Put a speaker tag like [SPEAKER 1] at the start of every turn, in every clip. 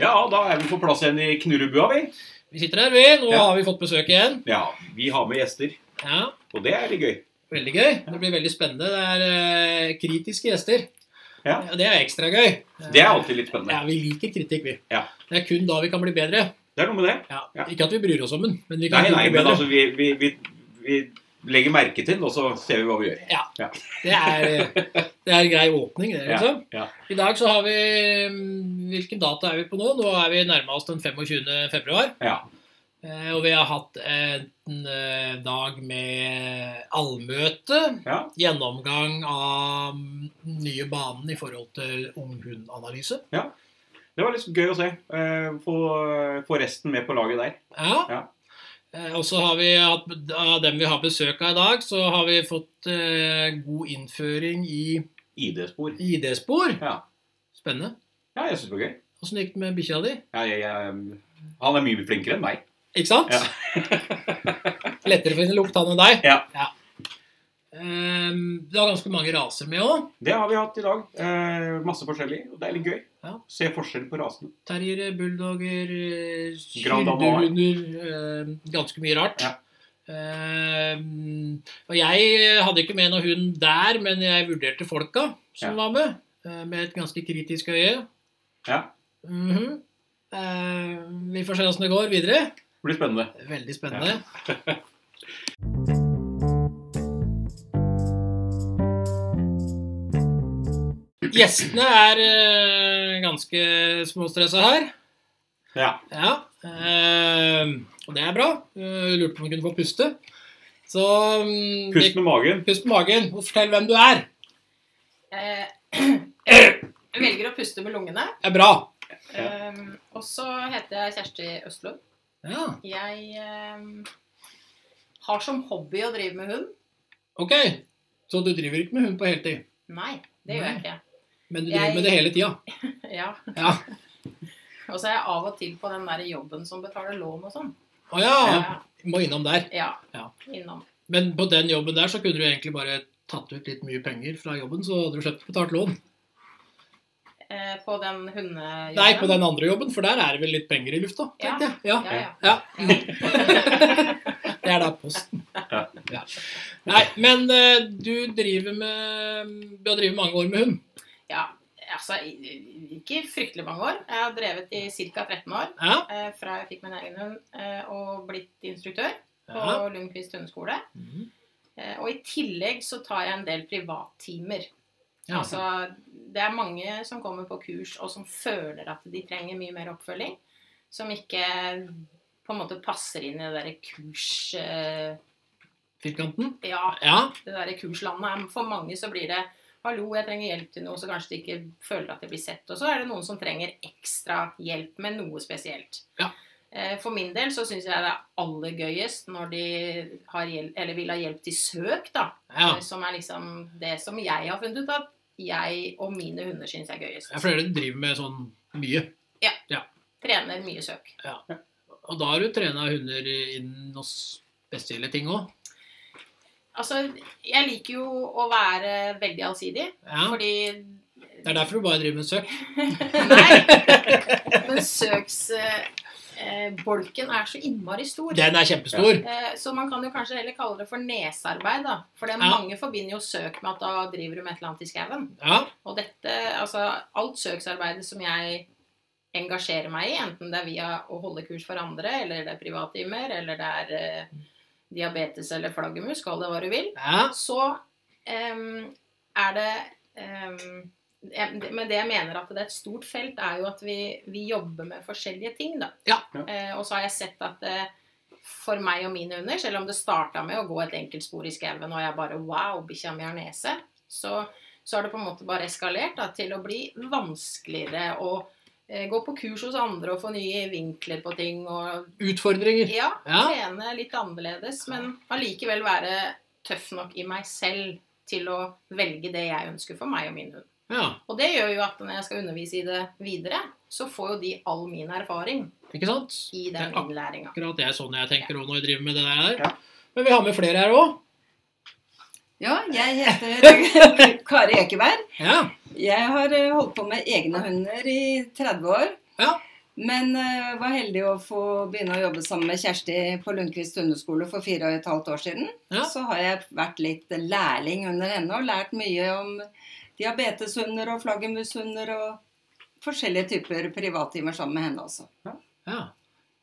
[SPEAKER 1] Ja, da er vi på plass igjen i knurrebua, vi.
[SPEAKER 2] Vi sitter her, vi. Nå
[SPEAKER 1] Ja.
[SPEAKER 2] har vi fått besøk igjen.
[SPEAKER 1] Ja, vi har med gjester,
[SPEAKER 2] Ja,
[SPEAKER 1] og det er litt gøy.
[SPEAKER 2] Veldig gøy. Det blir veldig spennende. Det er eh, kritiske gjester.
[SPEAKER 1] Ja.
[SPEAKER 2] Det er ekstra gøy.
[SPEAKER 1] Det er alltid litt
[SPEAKER 2] Ja,
[SPEAKER 1] spennende.
[SPEAKER 2] Vi liker kritikk, vi.
[SPEAKER 1] Ja.
[SPEAKER 2] Det er kun da vi kan bli bedre.
[SPEAKER 1] Det er noe med det.
[SPEAKER 2] Ja.
[SPEAKER 1] Ja.
[SPEAKER 2] Ikke at vi bryr oss om den, men vi kan
[SPEAKER 1] Nei,
[SPEAKER 2] kun
[SPEAKER 1] nei,
[SPEAKER 2] bli
[SPEAKER 1] men
[SPEAKER 2] bedre.
[SPEAKER 1] altså, vi, vi, vi, vi legger merke til, og så ser vi hva vi gjør.
[SPEAKER 2] Det er, eh, det er en grei åpning, det, liksom.
[SPEAKER 1] Ja, ja.
[SPEAKER 2] I dag så har vi mm, Hvilken dato er vi på nå? Nå er vi nærma oss den 25. februar.
[SPEAKER 1] Ja.
[SPEAKER 2] Eh, Og vi har hatt en eh, dag med allmøte.
[SPEAKER 1] Ja.
[SPEAKER 2] Gjennomgang av nye banen i forhold til unghundanalyse.
[SPEAKER 1] Det var litt gøy å se. eh, Få, få resten med på laget der.
[SPEAKER 2] Ja.
[SPEAKER 1] Ja.
[SPEAKER 2] Eh, Og så har vi hatt, av dem vi har besøk av i dag, så har vi fått eh, god innføring i
[SPEAKER 1] ID-spor.
[SPEAKER 2] ID-spor.
[SPEAKER 1] Ja.
[SPEAKER 2] Spennende.
[SPEAKER 1] Ja, jeg syns det var gøy.
[SPEAKER 2] Åssen gikk det med bikkja di?
[SPEAKER 1] Ja, jeg, jeg, han er mye flinkere enn meg.
[SPEAKER 2] Ikke sant?
[SPEAKER 1] Ja.
[SPEAKER 2] Lettere for å lukte han enn deg.
[SPEAKER 1] Ja.
[SPEAKER 2] Ehm, det var ganske mange raser med òg.
[SPEAKER 1] Det har vi hatt i dag. eh, Masse forskjellig, og det er litt gøy.
[SPEAKER 2] Ja.
[SPEAKER 1] Se forskjell på rasene.
[SPEAKER 2] Terriere, bulldoger, eh,
[SPEAKER 1] Grand Danois.
[SPEAKER 2] hyrdehunder eh, Ganske mye rart.
[SPEAKER 1] Ja.
[SPEAKER 2] Ehm, og jeg hadde ikke med noen hund der, men jeg vurderte folka som
[SPEAKER 1] Ja.
[SPEAKER 2] var med, eh, med et ganske kritisk øye.
[SPEAKER 1] Ja,
[SPEAKER 2] Mhm. Ehm, vi får se åssen det går videre.
[SPEAKER 1] det blir spennende.
[SPEAKER 2] Veldig spennende. Gjestene er eh, ganske småstressa her.
[SPEAKER 1] Ja.
[SPEAKER 2] Ja. eh, og det er bra. Eh, lurte på om vi kunne få puste. Så mm,
[SPEAKER 1] Pust med magen.
[SPEAKER 2] det- pust med magen. Og fortell hvem du er.
[SPEAKER 3] Eh, Jeg velger å puste med lungene.
[SPEAKER 2] Det er bra.
[SPEAKER 1] Ja.
[SPEAKER 3] Um, og så heter jeg Kjersti Østlund.
[SPEAKER 2] Ja,
[SPEAKER 3] Jeg um, har som hobby å drive med hund.
[SPEAKER 2] Ok. Så du driver ikke med hund på heltid,
[SPEAKER 3] Nei, det gjør jeg ikke.
[SPEAKER 2] men du
[SPEAKER 3] Jeg-
[SPEAKER 2] driver med det hele tida?
[SPEAKER 3] Ja.
[SPEAKER 2] Ja.
[SPEAKER 3] Og så er jeg av og til på den der jobben som betaler lån og sånn.
[SPEAKER 2] Å ja.
[SPEAKER 3] Ja.
[SPEAKER 2] Må innom der.
[SPEAKER 3] Ja.
[SPEAKER 2] Ja.
[SPEAKER 3] Innom.
[SPEAKER 2] Men på den jobben der så kunne du egentlig bare tatt ut litt mye penger fra jobben, så hadde du sluppet betalt lån.
[SPEAKER 3] Eh, på den hundejobben.
[SPEAKER 2] Nei, på den andre jobben, for der er det vel litt penger i lufta, tenkte jeg. Ja.
[SPEAKER 3] Ja, ja.
[SPEAKER 2] Ja,
[SPEAKER 3] ja.
[SPEAKER 2] det er da posten.
[SPEAKER 1] Ja.
[SPEAKER 2] Ja. Nei, men eh, du driver med Du har drevet mange år med hund.
[SPEAKER 3] ja. Altså, ikke fryktelig mange år. Jeg har drevet i ca. 13 år.
[SPEAKER 2] Ja.
[SPEAKER 3] eh, fra jeg fikk min egen hund eh, og blitt instruktør på
[SPEAKER 2] ja.
[SPEAKER 3] Lundqvist hundeskole.
[SPEAKER 2] Mhm.
[SPEAKER 3] Eh, Og i tillegg så tar jeg en del privattimer.
[SPEAKER 2] ja.
[SPEAKER 3] Altså, det er mange som kommer på kurs og som føler at de trenger mye mer oppfølging. Som ikke på en måte passer inn i det derre kurs... eh,
[SPEAKER 2] Firkanten.
[SPEAKER 3] Ja,
[SPEAKER 2] Ja.
[SPEAKER 3] det derre kurslandet. er- For mange så blir det Hallo, jeg trenger hjelp til noe, så kanskje de ikke føler at de blir sett. Og så er det noen som trenger ekstra hjelp med noe spesielt.
[SPEAKER 2] Ja.
[SPEAKER 3] Eh, For min del så syns jeg det er aller gøyest når de har hjelp, eller vil ha hjelp til søk, da.
[SPEAKER 2] ja.
[SPEAKER 3] Eh, Som er liksom det som jeg har funnet ut at jeg og mine hunder syns er gøyest.
[SPEAKER 2] Det er flere som driver med sånn mye.
[SPEAKER 3] Trener mye søk.
[SPEAKER 2] Og da har du trena hunder innen noen spesielle ting òg.
[SPEAKER 3] Altså, jeg liker jo å være veldig allsidig,
[SPEAKER 2] Ja.
[SPEAKER 3] fordi
[SPEAKER 2] Det er derfor du bare driver med søk.
[SPEAKER 3] Nei. Men søksbolken er så innmari stor.
[SPEAKER 2] Den er kjempestor.
[SPEAKER 3] Eh, Så man kan jo kanskje heller kalle det for nesearbeid, da. For det er
[SPEAKER 2] Ja.
[SPEAKER 3] mange forbinder jo søk med at da driver du med et eller annet i skauen.
[SPEAKER 2] Ja.
[SPEAKER 3] Og dette, altså alt søksarbeidet som jeg engasjerer meg i, enten det er via å holde kurs for andre, eller det er privattimer, eller det er eh, diabetes eller flaggermus, kall det hva du vil,
[SPEAKER 2] ja.
[SPEAKER 3] så em, er det em, em, det- Men det jeg mener at det er et stort felt, er jo at vi, vi jobber med forskjellige ting, da.
[SPEAKER 2] Ja.
[SPEAKER 3] Eh, og så har jeg sett at eh, for meg og mine hunder, selv om det starta med å gå et enkeltspor i skauen, og jeg bare Wow, bikkja mi har nese. Så, så har det på en måte bare eskalert da, til å bli vanskeligere å eh, gå på kurs hos andre og få nye vinkler på ting og
[SPEAKER 2] Utfordringer.
[SPEAKER 3] ja,
[SPEAKER 2] Ja.
[SPEAKER 3] trene litt annerledes, men allikevel være tøff nok i meg selv til å velge det jeg ønsker for meg og min hund.
[SPEAKER 2] Ja.
[SPEAKER 3] Og det gjør jo at når jeg skal undervise i det videre, så får jo de all min erfaring
[SPEAKER 2] Ikke sant?
[SPEAKER 3] i den
[SPEAKER 2] Ja.
[SPEAKER 3] innlæringa.
[SPEAKER 2] akkurat det er sånn jeg tenker også når jeg driver med det der.
[SPEAKER 1] Ja.
[SPEAKER 2] Men vi har med flere her òg.
[SPEAKER 4] Ja, jeg heter Kari Ekeberg.
[SPEAKER 2] Ja.
[SPEAKER 4] Jeg har eh, holdt på med egne hunder i 30 år.
[SPEAKER 2] Ja.
[SPEAKER 4] Men eh, var heldig å få begynne å jobbe sammen med Kjersti på Lundqvist hundeskole for fire og et halvt år siden.
[SPEAKER 2] Ja.
[SPEAKER 4] Så har jeg vært litt lærling under henne og lært mye om diabeteshunder og flaggermushunder og forskjellige typer privattimer sammen med henne også.
[SPEAKER 2] Ja,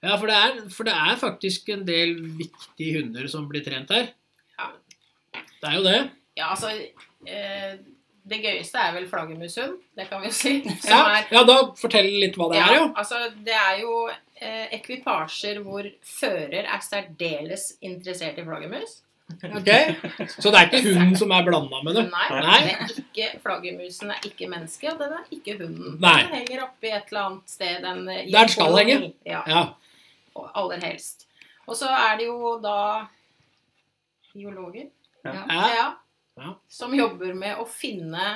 [SPEAKER 2] ja for, det er, for det er faktisk en del viktige hunder som blir trent her.
[SPEAKER 3] Ja.
[SPEAKER 2] Det er jo det.
[SPEAKER 3] Ja, altså eh, Det gøyeste er vel flaggermushund, det kan vi jo si. Som
[SPEAKER 2] Ja,
[SPEAKER 3] er
[SPEAKER 2] ja, da fortell litt hva det er, jo.
[SPEAKER 3] Altså, det er jo eh, ekvipasjer hvor fører er særdeles interessert i flaggermus.
[SPEAKER 2] Ok? Så det er ikke hunden som er blanda med
[SPEAKER 3] Nei,
[SPEAKER 2] det.
[SPEAKER 3] Nei.
[SPEAKER 2] Nei.
[SPEAKER 3] Det er ikke, flaggermusen er ikke menneske, og den er ikke hunden.
[SPEAKER 2] Nei.
[SPEAKER 3] Den henger oppe i et eller annet sted. Den, eh, i
[SPEAKER 2] Der
[SPEAKER 3] en
[SPEAKER 2] skal
[SPEAKER 3] koloni.
[SPEAKER 2] henge.
[SPEAKER 3] Ja,
[SPEAKER 2] Ja.
[SPEAKER 3] og aller helst. Og så er det jo da biologer
[SPEAKER 2] ja.
[SPEAKER 3] ja,
[SPEAKER 2] Ja.
[SPEAKER 3] som jobber med å finne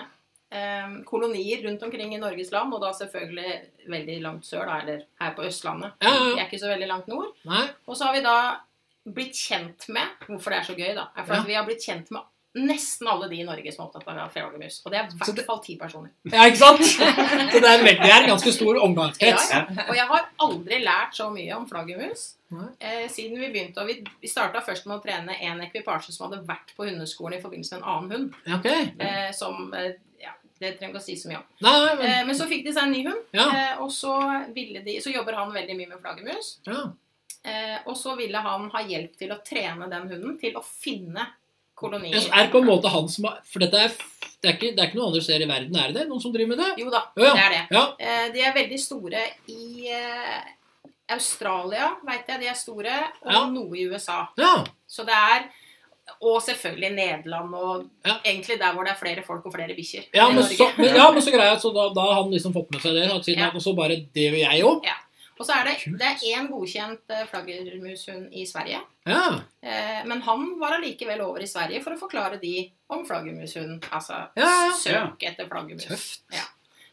[SPEAKER 3] eh, kolonier rundt omkring i Norges land, og da selvfølgelig veldig langt sør, da, eller her på Østlandet.
[SPEAKER 2] Ja, ja, ja.
[SPEAKER 3] Vi er ikke så veldig langt nord.
[SPEAKER 2] Nei.
[SPEAKER 3] Og så har vi da blitt kjent med Hvorfor det er så gøy, da, er for
[SPEAKER 2] Ja.
[SPEAKER 3] at vi har blitt kjent med nesten alle de i Norge som er opptatt av flaggermus. Og det er i
[SPEAKER 2] Så det-
[SPEAKER 3] hvert fall ti personer.
[SPEAKER 2] Ja, ikke sant? Så det er en veldig, det er en ganske stor omgangskrets.
[SPEAKER 1] Ja.
[SPEAKER 3] Og jeg har aldri lært så mye om flaggermus
[SPEAKER 2] Nei.
[SPEAKER 3] eh, siden vi begynte. Og vi, vi starta først med å trene en ekvipasje som hadde vært på hundeskolen i forbindelse med en annen hund.
[SPEAKER 2] Ja, ok.
[SPEAKER 3] Eh, som eh, ja, Det trenger ikke å si så mye om.
[SPEAKER 2] Nei, nei, men,
[SPEAKER 3] Eh, men så fikk de seg en ny hund,
[SPEAKER 2] ja,
[SPEAKER 3] eh, og så, ville de, så jobber han veldig mye med flaggermus.
[SPEAKER 2] ja.
[SPEAKER 3] Eh, og så ville han ha hjelp til å trene den hunden til å finne kolonier.
[SPEAKER 2] Så er det på en måte han som har For dette er, det er, ikke, det er ikke noen andre steder i verden, er det det? Noen som driver med det?
[SPEAKER 3] Jo da,
[SPEAKER 2] Ja,
[SPEAKER 3] det er det.
[SPEAKER 2] Ja.
[SPEAKER 3] Eh, de er veldig store i eh, Australia, veit jeg. De er store, og
[SPEAKER 2] Ja.
[SPEAKER 3] noe i USA.
[SPEAKER 2] ja.
[SPEAKER 3] Så det er Og selvfølgelig Nederland, og
[SPEAKER 2] Ja.
[SPEAKER 3] egentlig der hvor det er flere folk og flere bikkjer.
[SPEAKER 2] Ja,
[SPEAKER 3] i
[SPEAKER 2] men
[SPEAKER 3] Norge.
[SPEAKER 2] så, men, ja, men så greia, så da, da har han liksom fått med seg det. At siden
[SPEAKER 3] Ja.
[SPEAKER 2] han- Og så bare Det vil jeg òg.
[SPEAKER 3] Og så er det,
[SPEAKER 2] Kult.
[SPEAKER 3] det er én godkjent eh, flaggermushund i Sverige.
[SPEAKER 2] Ja.
[SPEAKER 3] Eh, men han var allikevel over i Sverige for å forklare de om flaggermushunden. Altså
[SPEAKER 2] Ja, ja.
[SPEAKER 3] søk etter flaggermus.
[SPEAKER 2] Tøft.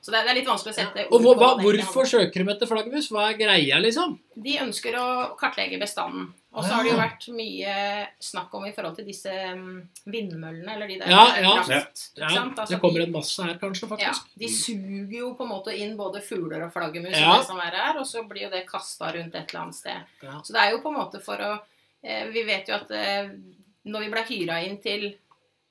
[SPEAKER 3] Så det, det er litt vanskelig å sette
[SPEAKER 2] Og
[SPEAKER 3] ord
[SPEAKER 2] hvor,
[SPEAKER 3] på
[SPEAKER 2] hva,
[SPEAKER 3] det, egentlig.
[SPEAKER 2] hvorfor søker de etter flaggermus? Hva er greia, liksom?
[SPEAKER 3] De ønsker å kartlegge bestanden. Og så har det jo
[SPEAKER 2] Ah.
[SPEAKER 3] vært mye snakk om i forhold til disse mm, vindmøllene, eller de der
[SPEAKER 2] Ja, ja.
[SPEAKER 3] kraft, ikke
[SPEAKER 2] Ja,
[SPEAKER 3] sant? Altså,
[SPEAKER 2] det kommer
[SPEAKER 3] de-
[SPEAKER 2] en masse her, kanskje,
[SPEAKER 3] ja,
[SPEAKER 2] faktisk.
[SPEAKER 3] de suger jo på en måte inn både fugler og flaggermus,
[SPEAKER 2] Ja.
[SPEAKER 3] og det som er her, og så blir jo det kasta rundt et eller annet sted.
[SPEAKER 2] Ja.
[SPEAKER 3] Så det er jo på en måte for å eh, Vi vet jo at eh, når vi ble hyra inn til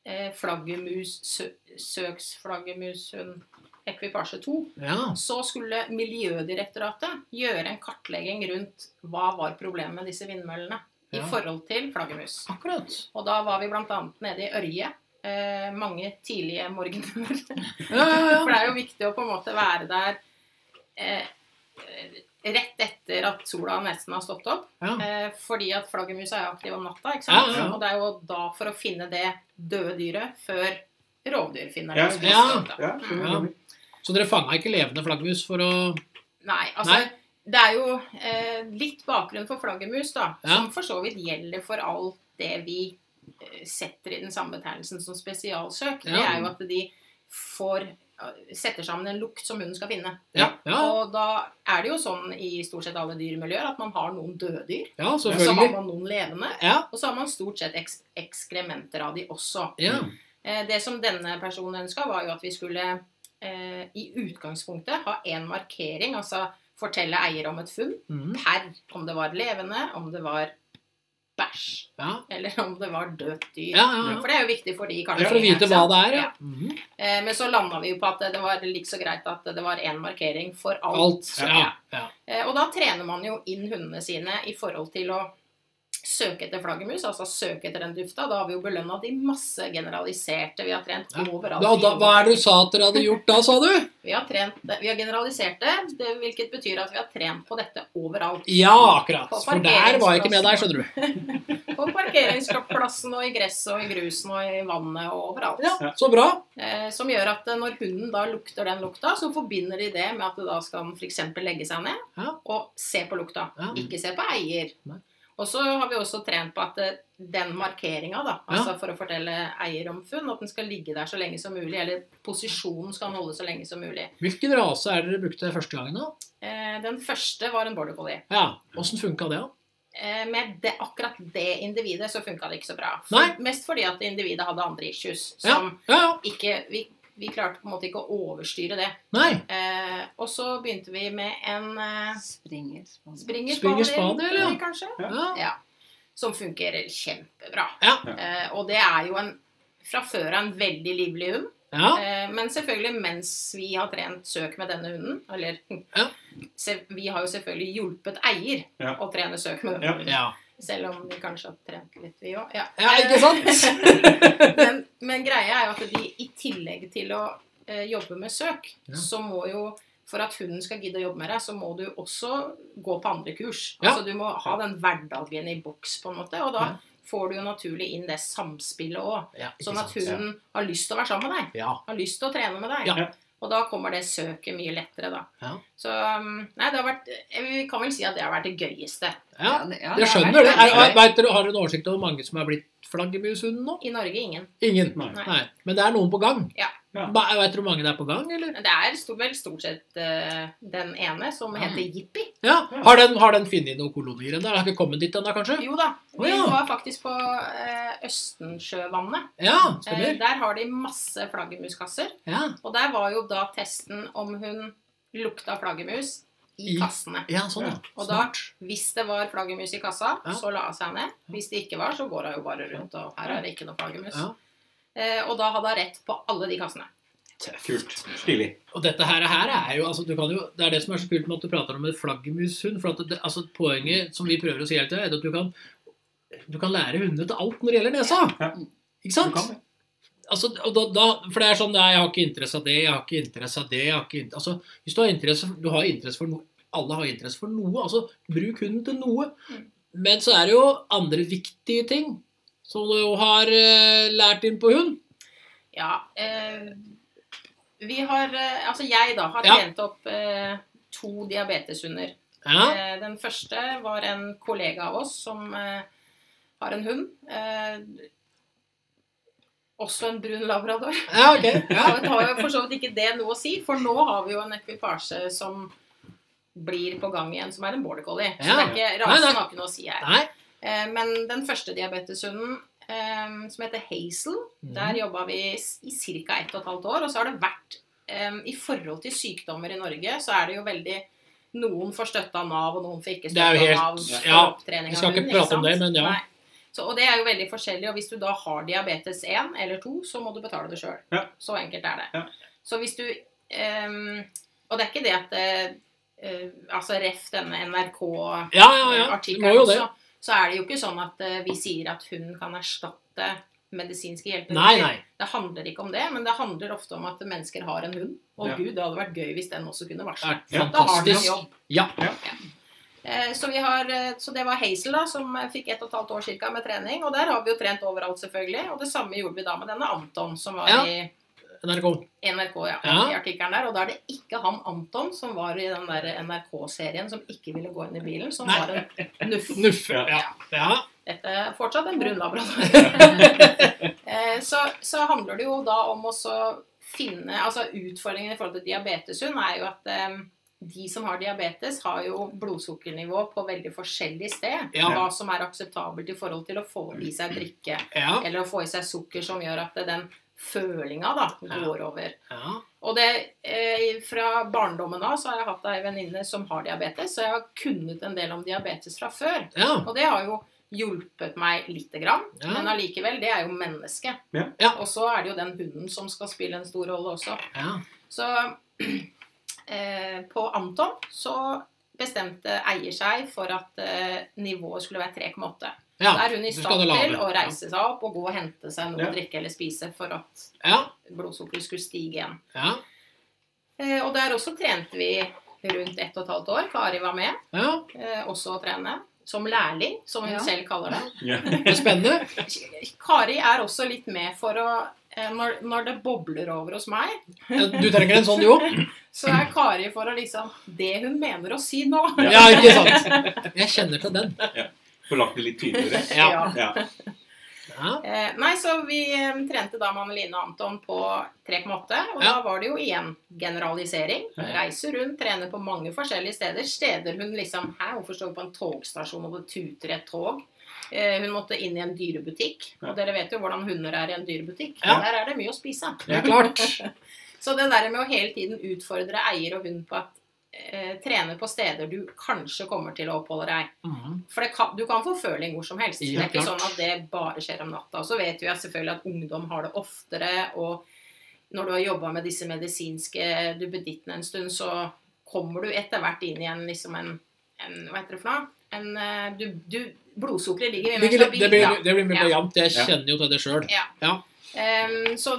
[SPEAKER 3] eh, flaggermus, sø, søksflaggermushund ekvipasje 2,
[SPEAKER 2] Ja.
[SPEAKER 3] så skulle Miljødirektoratet gjøre en kartlegging rundt hva var problemet med disse vindmøllene i
[SPEAKER 2] Ja.
[SPEAKER 3] forhold til flaggermus.
[SPEAKER 2] Akkurat.
[SPEAKER 3] Og da var vi bl.a. nede i Ørje eh, mange tidlige morgener.
[SPEAKER 2] Ja, ja,
[SPEAKER 3] For
[SPEAKER 2] ja.
[SPEAKER 3] det er jo viktig å på en måte være der eh, rett etter at sola nesten har stått opp.
[SPEAKER 2] Ja.
[SPEAKER 3] Eh, fordi at flaggermus er jo aktive om natta, ikke sant?
[SPEAKER 2] Ja, ja, ja.
[SPEAKER 3] Og det er jo da for å finne det døde dyret før rovdyr finner
[SPEAKER 1] Ja,
[SPEAKER 3] det.
[SPEAKER 2] ja.
[SPEAKER 1] Ja, skjønner
[SPEAKER 2] Ja.
[SPEAKER 1] du.
[SPEAKER 2] Så dere fanga ikke levende flaggermus for å
[SPEAKER 3] Nei, altså
[SPEAKER 2] Nei.
[SPEAKER 3] Det er jo eh, litt bakgrunn for flaggermus, da.
[SPEAKER 2] Ja.
[SPEAKER 3] Som for så vidt gjelder for alt det vi eh, setter i den samme betegnelsen som spesialsøk. Det
[SPEAKER 2] Ja.
[SPEAKER 3] er jo at de får eh, setter sammen en lukt som hunden skal finne.
[SPEAKER 2] Ja, ja,
[SPEAKER 3] Og da er det jo sånn i stort sett alle dyremiljøer at man har noen døde dyr.
[SPEAKER 2] ja
[SPEAKER 3] Og så har
[SPEAKER 2] selvfølgelig.
[SPEAKER 3] man noen levende.
[SPEAKER 2] Ja.
[SPEAKER 3] Og så har man stort sett eks ekskrementer av de også.
[SPEAKER 2] Ja.
[SPEAKER 3] Eh, Det som denne personen ønska, var jo at vi skulle eh, i utgangspunktet ha én markering, altså fortelle eier om et funn
[SPEAKER 2] Mhm.
[SPEAKER 3] per om det var levende, om det var bæsj,
[SPEAKER 2] ja.
[SPEAKER 3] eller om det var dødt dyr.
[SPEAKER 2] Ja, ja, ja.
[SPEAKER 3] For det er jo viktig for de, kanskje.
[SPEAKER 2] For å vite
[SPEAKER 3] ikke
[SPEAKER 2] hva
[SPEAKER 3] sant?
[SPEAKER 2] det er, ja. Mhm.
[SPEAKER 3] Ja. Eh, Men så landa vi jo på at det var like så greit at det var én markering for alt.
[SPEAKER 2] Alt. Ja. ja.
[SPEAKER 3] Eh, Og da trener man jo inn hundene sine i forhold til å søke etter flaggermus, altså søke etter den dufta. Da har vi jo belønna de masse generaliserte vi har trent
[SPEAKER 2] Ja.
[SPEAKER 3] overalt.
[SPEAKER 2] Da,
[SPEAKER 3] i
[SPEAKER 2] da,
[SPEAKER 3] Norge.
[SPEAKER 2] hva er det du sa at dere hadde gjort da, sa du?
[SPEAKER 3] Vi har, trent, vi har generalisert det, det, hvilket betyr at vi har trent på dette overalt.
[SPEAKER 2] Ja, akkurat. For der var jeg ikke med deg, skjønner du.
[SPEAKER 3] På parkeringsplassen og i gresset og i grusen og i vannet og overalt.
[SPEAKER 2] Ja, Så bra.
[SPEAKER 3] Eh, som gjør at eh, når hunden da lukter den lukta, så forbinder de det med at da skal den f.eks. legge seg ned
[SPEAKER 2] Ja.
[SPEAKER 3] og se på lukta.
[SPEAKER 2] Ja.
[SPEAKER 3] Ikke se på eier.
[SPEAKER 2] Nei.
[SPEAKER 3] Og så har vi også trent på at eh, den markeringa, da,
[SPEAKER 2] Ja.
[SPEAKER 3] altså for å fortelle eier om funn, at den skal ligge der så lenge som mulig, eller posisjonen skal den holde så lenge som mulig.
[SPEAKER 2] Hvilken rase er det dere brukte første gangen, da?
[SPEAKER 3] Eh, den første var en border collie.
[SPEAKER 2] Ja, Åssen funka det, da?
[SPEAKER 3] Eh, med det, akkurat det individet så funka det ikke så bra.
[SPEAKER 2] Nei.
[SPEAKER 3] Mest fordi at individet hadde andre issues.
[SPEAKER 2] Ja,
[SPEAKER 3] Som
[SPEAKER 2] ja, ja.
[SPEAKER 3] ikke Vi vi klarte på en måte ikke å overstyre det.
[SPEAKER 2] Nei.
[SPEAKER 3] Eh, og så begynte vi med en eh,
[SPEAKER 4] Springer. spann.
[SPEAKER 3] springer
[SPEAKER 2] Springer
[SPEAKER 3] spaniel,
[SPEAKER 2] spaniel, ja.
[SPEAKER 3] kanskje.
[SPEAKER 2] Ja.
[SPEAKER 3] Ja. Som fungerer kjempebra.
[SPEAKER 2] Ja.
[SPEAKER 3] Eh, og det er jo en fra før av en veldig livlig hund.
[SPEAKER 2] ja.
[SPEAKER 3] Eh, men selvfølgelig mens vi har trent søk med denne hunden Eller
[SPEAKER 2] Ja.
[SPEAKER 3] se, vi har jo selvfølgelig hjulpet eier
[SPEAKER 1] Ja.
[SPEAKER 3] å trene søk med denne
[SPEAKER 1] Ja.
[SPEAKER 3] hunden.
[SPEAKER 2] ja.
[SPEAKER 3] Selv om vi kanskje har trent litt, vi òg. Ja.
[SPEAKER 2] Ja, ikke sant?
[SPEAKER 3] men, men greia er jo at de i tillegg til å eh, jobbe med søk,
[SPEAKER 2] Ja.
[SPEAKER 3] så må jo for at hunden skal gidde å jobbe med deg, så må du også gå på andre kurs.
[SPEAKER 2] Ja.
[SPEAKER 3] Altså Du må ha den hverdagen i boks, på en måte. Og da
[SPEAKER 2] Ja.
[SPEAKER 3] får du jo naturlig inn det samspillet òg.
[SPEAKER 2] Ja, ikke
[SPEAKER 3] Sånn at
[SPEAKER 2] sant?
[SPEAKER 3] hunden har lyst til å være sammen med deg.
[SPEAKER 2] Ja.
[SPEAKER 3] Har lyst til å trene med deg.
[SPEAKER 1] Ja.
[SPEAKER 3] Og da kommer det søket mye lettere, da.
[SPEAKER 2] Ja.
[SPEAKER 3] Så um, Nei, det har vært Vi kan vel si at det har vært det gøyeste
[SPEAKER 2] ja.
[SPEAKER 4] det- ja,
[SPEAKER 2] Jeg
[SPEAKER 4] har
[SPEAKER 2] skjønner
[SPEAKER 4] vært
[SPEAKER 2] det. Er,
[SPEAKER 4] veldig gøy.
[SPEAKER 2] er, vet dere, har dere en oversikt over hvor mange som er blitt flaggermushunden nå?
[SPEAKER 3] i Norge. Ingen.
[SPEAKER 2] Ingen.
[SPEAKER 1] Nei.
[SPEAKER 2] Nei. Men det er noen på gang.
[SPEAKER 3] Ja.
[SPEAKER 1] Ja.
[SPEAKER 2] Ba, vet dere hvor mange det er på gang, eller?
[SPEAKER 3] Men Det er stort, vel stort sett eh, den ene som
[SPEAKER 2] Ja.
[SPEAKER 3] heter Jippi.
[SPEAKER 2] Ja. Har den, har den funnet noen kolonier ennå? Har den ikke kommet dit ennå, kanskje?
[SPEAKER 3] Jo da. Vi
[SPEAKER 2] Å, ja.
[SPEAKER 3] var faktisk på eh, Østensjøvannet.
[SPEAKER 2] Ja,
[SPEAKER 3] Eh,
[SPEAKER 2] stemmer.
[SPEAKER 3] der har de masse flaggermuskasser.
[SPEAKER 2] Ja.
[SPEAKER 3] Og der var jo da testen om hun lukta flaggermus i
[SPEAKER 2] I-
[SPEAKER 3] kassene.
[SPEAKER 2] ja, sånn, ja.
[SPEAKER 3] Og da, hvis det var flaggermus i kassa,
[SPEAKER 2] Ja.
[SPEAKER 3] så la hun seg ned. Hvis det ikke var, så går hun jo bare rundt, og her er det ikke noe flaggermus.
[SPEAKER 2] Ja.
[SPEAKER 3] Eh, og da hadde hun rett på alle de kassene.
[SPEAKER 1] Kult. Stilig.
[SPEAKER 2] Og dette her, her er jo, altså, du kan jo Det er det som er så kult med at du prater om en flaggermushund. For at det, altså, poenget som vi prøver å si hele tida, er at du kan, du kan lære hundene til alt når det gjelder nesa.
[SPEAKER 1] Ja.
[SPEAKER 2] Ikke
[SPEAKER 1] Du
[SPEAKER 2] sant?
[SPEAKER 1] kan det.
[SPEAKER 2] Altså, og da, da, for det er sånn Nei, jeg har ikke interesse av det, jeg har ikke interesse av det jeg har ikke interesse, altså, Hvis du har interesse, du har interesse for noe Alle har interesse for noe. Altså, bruk hunden til noe.
[SPEAKER 3] Mm.
[SPEAKER 2] Men så er det jo andre viktige ting som du jo har eh, lært inn på hund.
[SPEAKER 3] Ja. Eh, vi har eh, Altså, jeg da har
[SPEAKER 2] Ja.
[SPEAKER 3] trent opp eh, to diabeteshunder.
[SPEAKER 2] Ja.
[SPEAKER 3] Eh, Den første var en kollega av oss som eh, har en hund. Eh, også en brun labrador.
[SPEAKER 2] ja, ok. Ja.
[SPEAKER 3] Så det har jo for så vidt ikke det noe å si, for nå har vi jo en ekvipasje som blir på gang igjen, som er en border collie. Så det
[SPEAKER 2] Ja.
[SPEAKER 3] er ikke
[SPEAKER 2] Nei, nei.
[SPEAKER 3] rasen har ikke noe å si her.
[SPEAKER 2] Nei.
[SPEAKER 3] Eh, men den første diabeteshunden, eh, som heter Hazel,
[SPEAKER 2] Mm.
[SPEAKER 3] der jobba vi s- i ca. 1 12 år. Og så har det vært eh, I forhold til sykdommer i Norge, så er det jo veldig Noen får støtte av Nav, og noen får ikke
[SPEAKER 2] Det er
[SPEAKER 3] støtte
[SPEAKER 2] jo
[SPEAKER 3] av
[SPEAKER 2] helt-
[SPEAKER 3] Nav. for
[SPEAKER 2] ja, vi
[SPEAKER 3] opptrening av
[SPEAKER 2] skal ikke
[SPEAKER 3] hund,
[SPEAKER 2] prate om
[SPEAKER 3] sant?
[SPEAKER 2] det, men ja.
[SPEAKER 3] Nei. Så, og det er jo veldig forskjellig. Og hvis du da har diabetes 1 eller 2, så må du betale det sjøl.
[SPEAKER 1] Ja.
[SPEAKER 3] Så enkelt er det.
[SPEAKER 1] Ja.
[SPEAKER 3] Så hvis du eh, Og det er ikke det at eh, eh, Altså ref denne NRK
[SPEAKER 2] Ja, ja, ja. Du må
[SPEAKER 3] artikkelen
[SPEAKER 2] jo det.
[SPEAKER 3] også, så er det jo ikke sånn at eh, vi sier at hun kan erstatte medisinske
[SPEAKER 2] Nei,
[SPEAKER 3] hjelpemidler.
[SPEAKER 2] nei.
[SPEAKER 3] Det handler ikke om det, men det handler ofte om at mennesker har en hund. Og
[SPEAKER 1] Ja.
[SPEAKER 3] gud, det hadde vært gøy hvis den også kunne
[SPEAKER 2] Det
[SPEAKER 3] varsle.
[SPEAKER 2] er
[SPEAKER 1] Ja.
[SPEAKER 3] Da har den en
[SPEAKER 2] fantastisk.
[SPEAKER 3] jobb.
[SPEAKER 2] Ja.
[SPEAKER 3] Eh, Så, vi har, eh, så det var Hazel, da, som eh, fikk ett og et halvt år cirka med trening. Og der har vi jo trent overalt, selvfølgelig. Og det samme gjorde vi da med denne Anton, som var
[SPEAKER 2] Ja.
[SPEAKER 3] i
[SPEAKER 2] NRK.
[SPEAKER 3] NRK. ja,
[SPEAKER 2] Ja.
[SPEAKER 3] i artikkelen der, Og da er det ikke han Anton som var i den der NRK-serien som ikke ville gå inn i bilen, som
[SPEAKER 2] Nei.
[SPEAKER 3] var en nuff.
[SPEAKER 2] Nuff.
[SPEAKER 1] Ja.
[SPEAKER 2] Ja. ja.
[SPEAKER 3] Dette er fortsatt en brun labrador. Eh, så, så handler det jo da om å så finne Altså utfordringen i forhold til diabeteshund er jo at eh, de som har diabetes, har jo blodsukkernivå på veldig forskjellig sted.
[SPEAKER 2] Ja.
[SPEAKER 3] Hva som er akseptabelt i forhold til å få i seg drikke
[SPEAKER 2] Ja.
[SPEAKER 3] eller å få i seg sukker som gjør at den følinga da
[SPEAKER 2] Ja.
[SPEAKER 3] går over.
[SPEAKER 2] ja.
[SPEAKER 3] Og det, eh, Fra barndommen av så har jeg hatt ei venninne som har diabetes, så jeg har kunnet en del om diabetes fra før.
[SPEAKER 2] ja.
[SPEAKER 3] Og det har jo hjulpet meg lite grann,
[SPEAKER 2] Ja.
[SPEAKER 3] men allikevel, det er jo mennesket.
[SPEAKER 1] Ja.
[SPEAKER 2] Ja.
[SPEAKER 3] Og så er det jo den hunden som skal spille en stor rolle også.
[SPEAKER 2] ja.
[SPEAKER 3] Så eh, på Anton så bestemte eier seg for at eh, nivået skulle være 3,8.
[SPEAKER 2] ja.
[SPEAKER 3] Da er hun i
[SPEAKER 2] du skal
[SPEAKER 3] stand
[SPEAKER 2] da lave.
[SPEAKER 3] til å reise seg opp og gå og hente seg noe
[SPEAKER 1] Ja.
[SPEAKER 3] å drikke eller spise for at
[SPEAKER 2] Ja.
[SPEAKER 3] blodsukkeret skulle stige igjen.
[SPEAKER 2] Ja.
[SPEAKER 3] Eh, og der også trente vi rundt ett og et halvt år. Kari var med
[SPEAKER 2] ja.
[SPEAKER 3] eh, også å trene. Som lærling, som hun
[SPEAKER 4] Ja.
[SPEAKER 3] selv kaller det.
[SPEAKER 1] Ja.
[SPEAKER 2] Det er spennende.
[SPEAKER 3] Kari er også litt med for å eh, når, når det bobler over hos meg,
[SPEAKER 2] Ja, Du trenger en sånn, jo?
[SPEAKER 3] så er Kari for å liksom Det hun mener å si nå.
[SPEAKER 2] Ja, ikke sant? Jeg kjenner til den.
[SPEAKER 1] Få lagt det litt tydeligere.
[SPEAKER 2] Ja.
[SPEAKER 1] Ja.
[SPEAKER 2] Ja.
[SPEAKER 3] Eh, nei, så vi eh, trente da med Anneline og Anton på 3,8, og da
[SPEAKER 2] Ja.
[SPEAKER 3] var det jo igjen generalisering. Reise rundt, trene på mange forskjellige steder. Steder hun liksom Hæ, hvorfor står vi på en togstasjon og det tuter et tog? Eh, Hun måtte inn i en dyrebutikk.
[SPEAKER 1] Ja.
[SPEAKER 3] Og dere vet jo hvordan hunder er i en dyrebutikk.
[SPEAKER 2] Ja.
[SPEAKER 3] Der er det mye å spise.
[SPEAKER 2] Det er klart.
[SPEAKER 3] Så det der med å hele tiden utfordre eier og hund på at eh, Trene på steder du kanskje kommer til å oppholde deg.
[SPEAKER 2] Mhm.
[SPEAKER 3] For det kan, du kan få føling hvor som helst.
[SPEAKER 2] Ja,
[SPEAKER 3] det er ikke
[SPEAKER 2] klart.
[SPEAKER 3] sånn at det bare skjer om natta. Og så vet jo jeg selvfølgelig at ungdom har det oftere. Og når du har jobba med disse medisinske duppedittene en stund, så kommer du etter hvert inn i en liksom en, en Hva heter det for noe? En, eh, du, du, blodsukkeret ligger mye
[SPEAKER 2] Det
[SPEAKER 3] mer
[SPEAKER 2] blir,
[SPEAKER 3] stabilt.
[SPEAKER 2] det blir,
[SPEAKER 3] da.
[SPEAKER 2] det blir mer
[SPEAKER 3] Ja.
[SPEAKER 2] jevnt. Jeg
[SPEAKER 1] Ja.
[SPEAKER 2] kjenner jo til det sjøl.
[SPEAKER 3] Ehm, så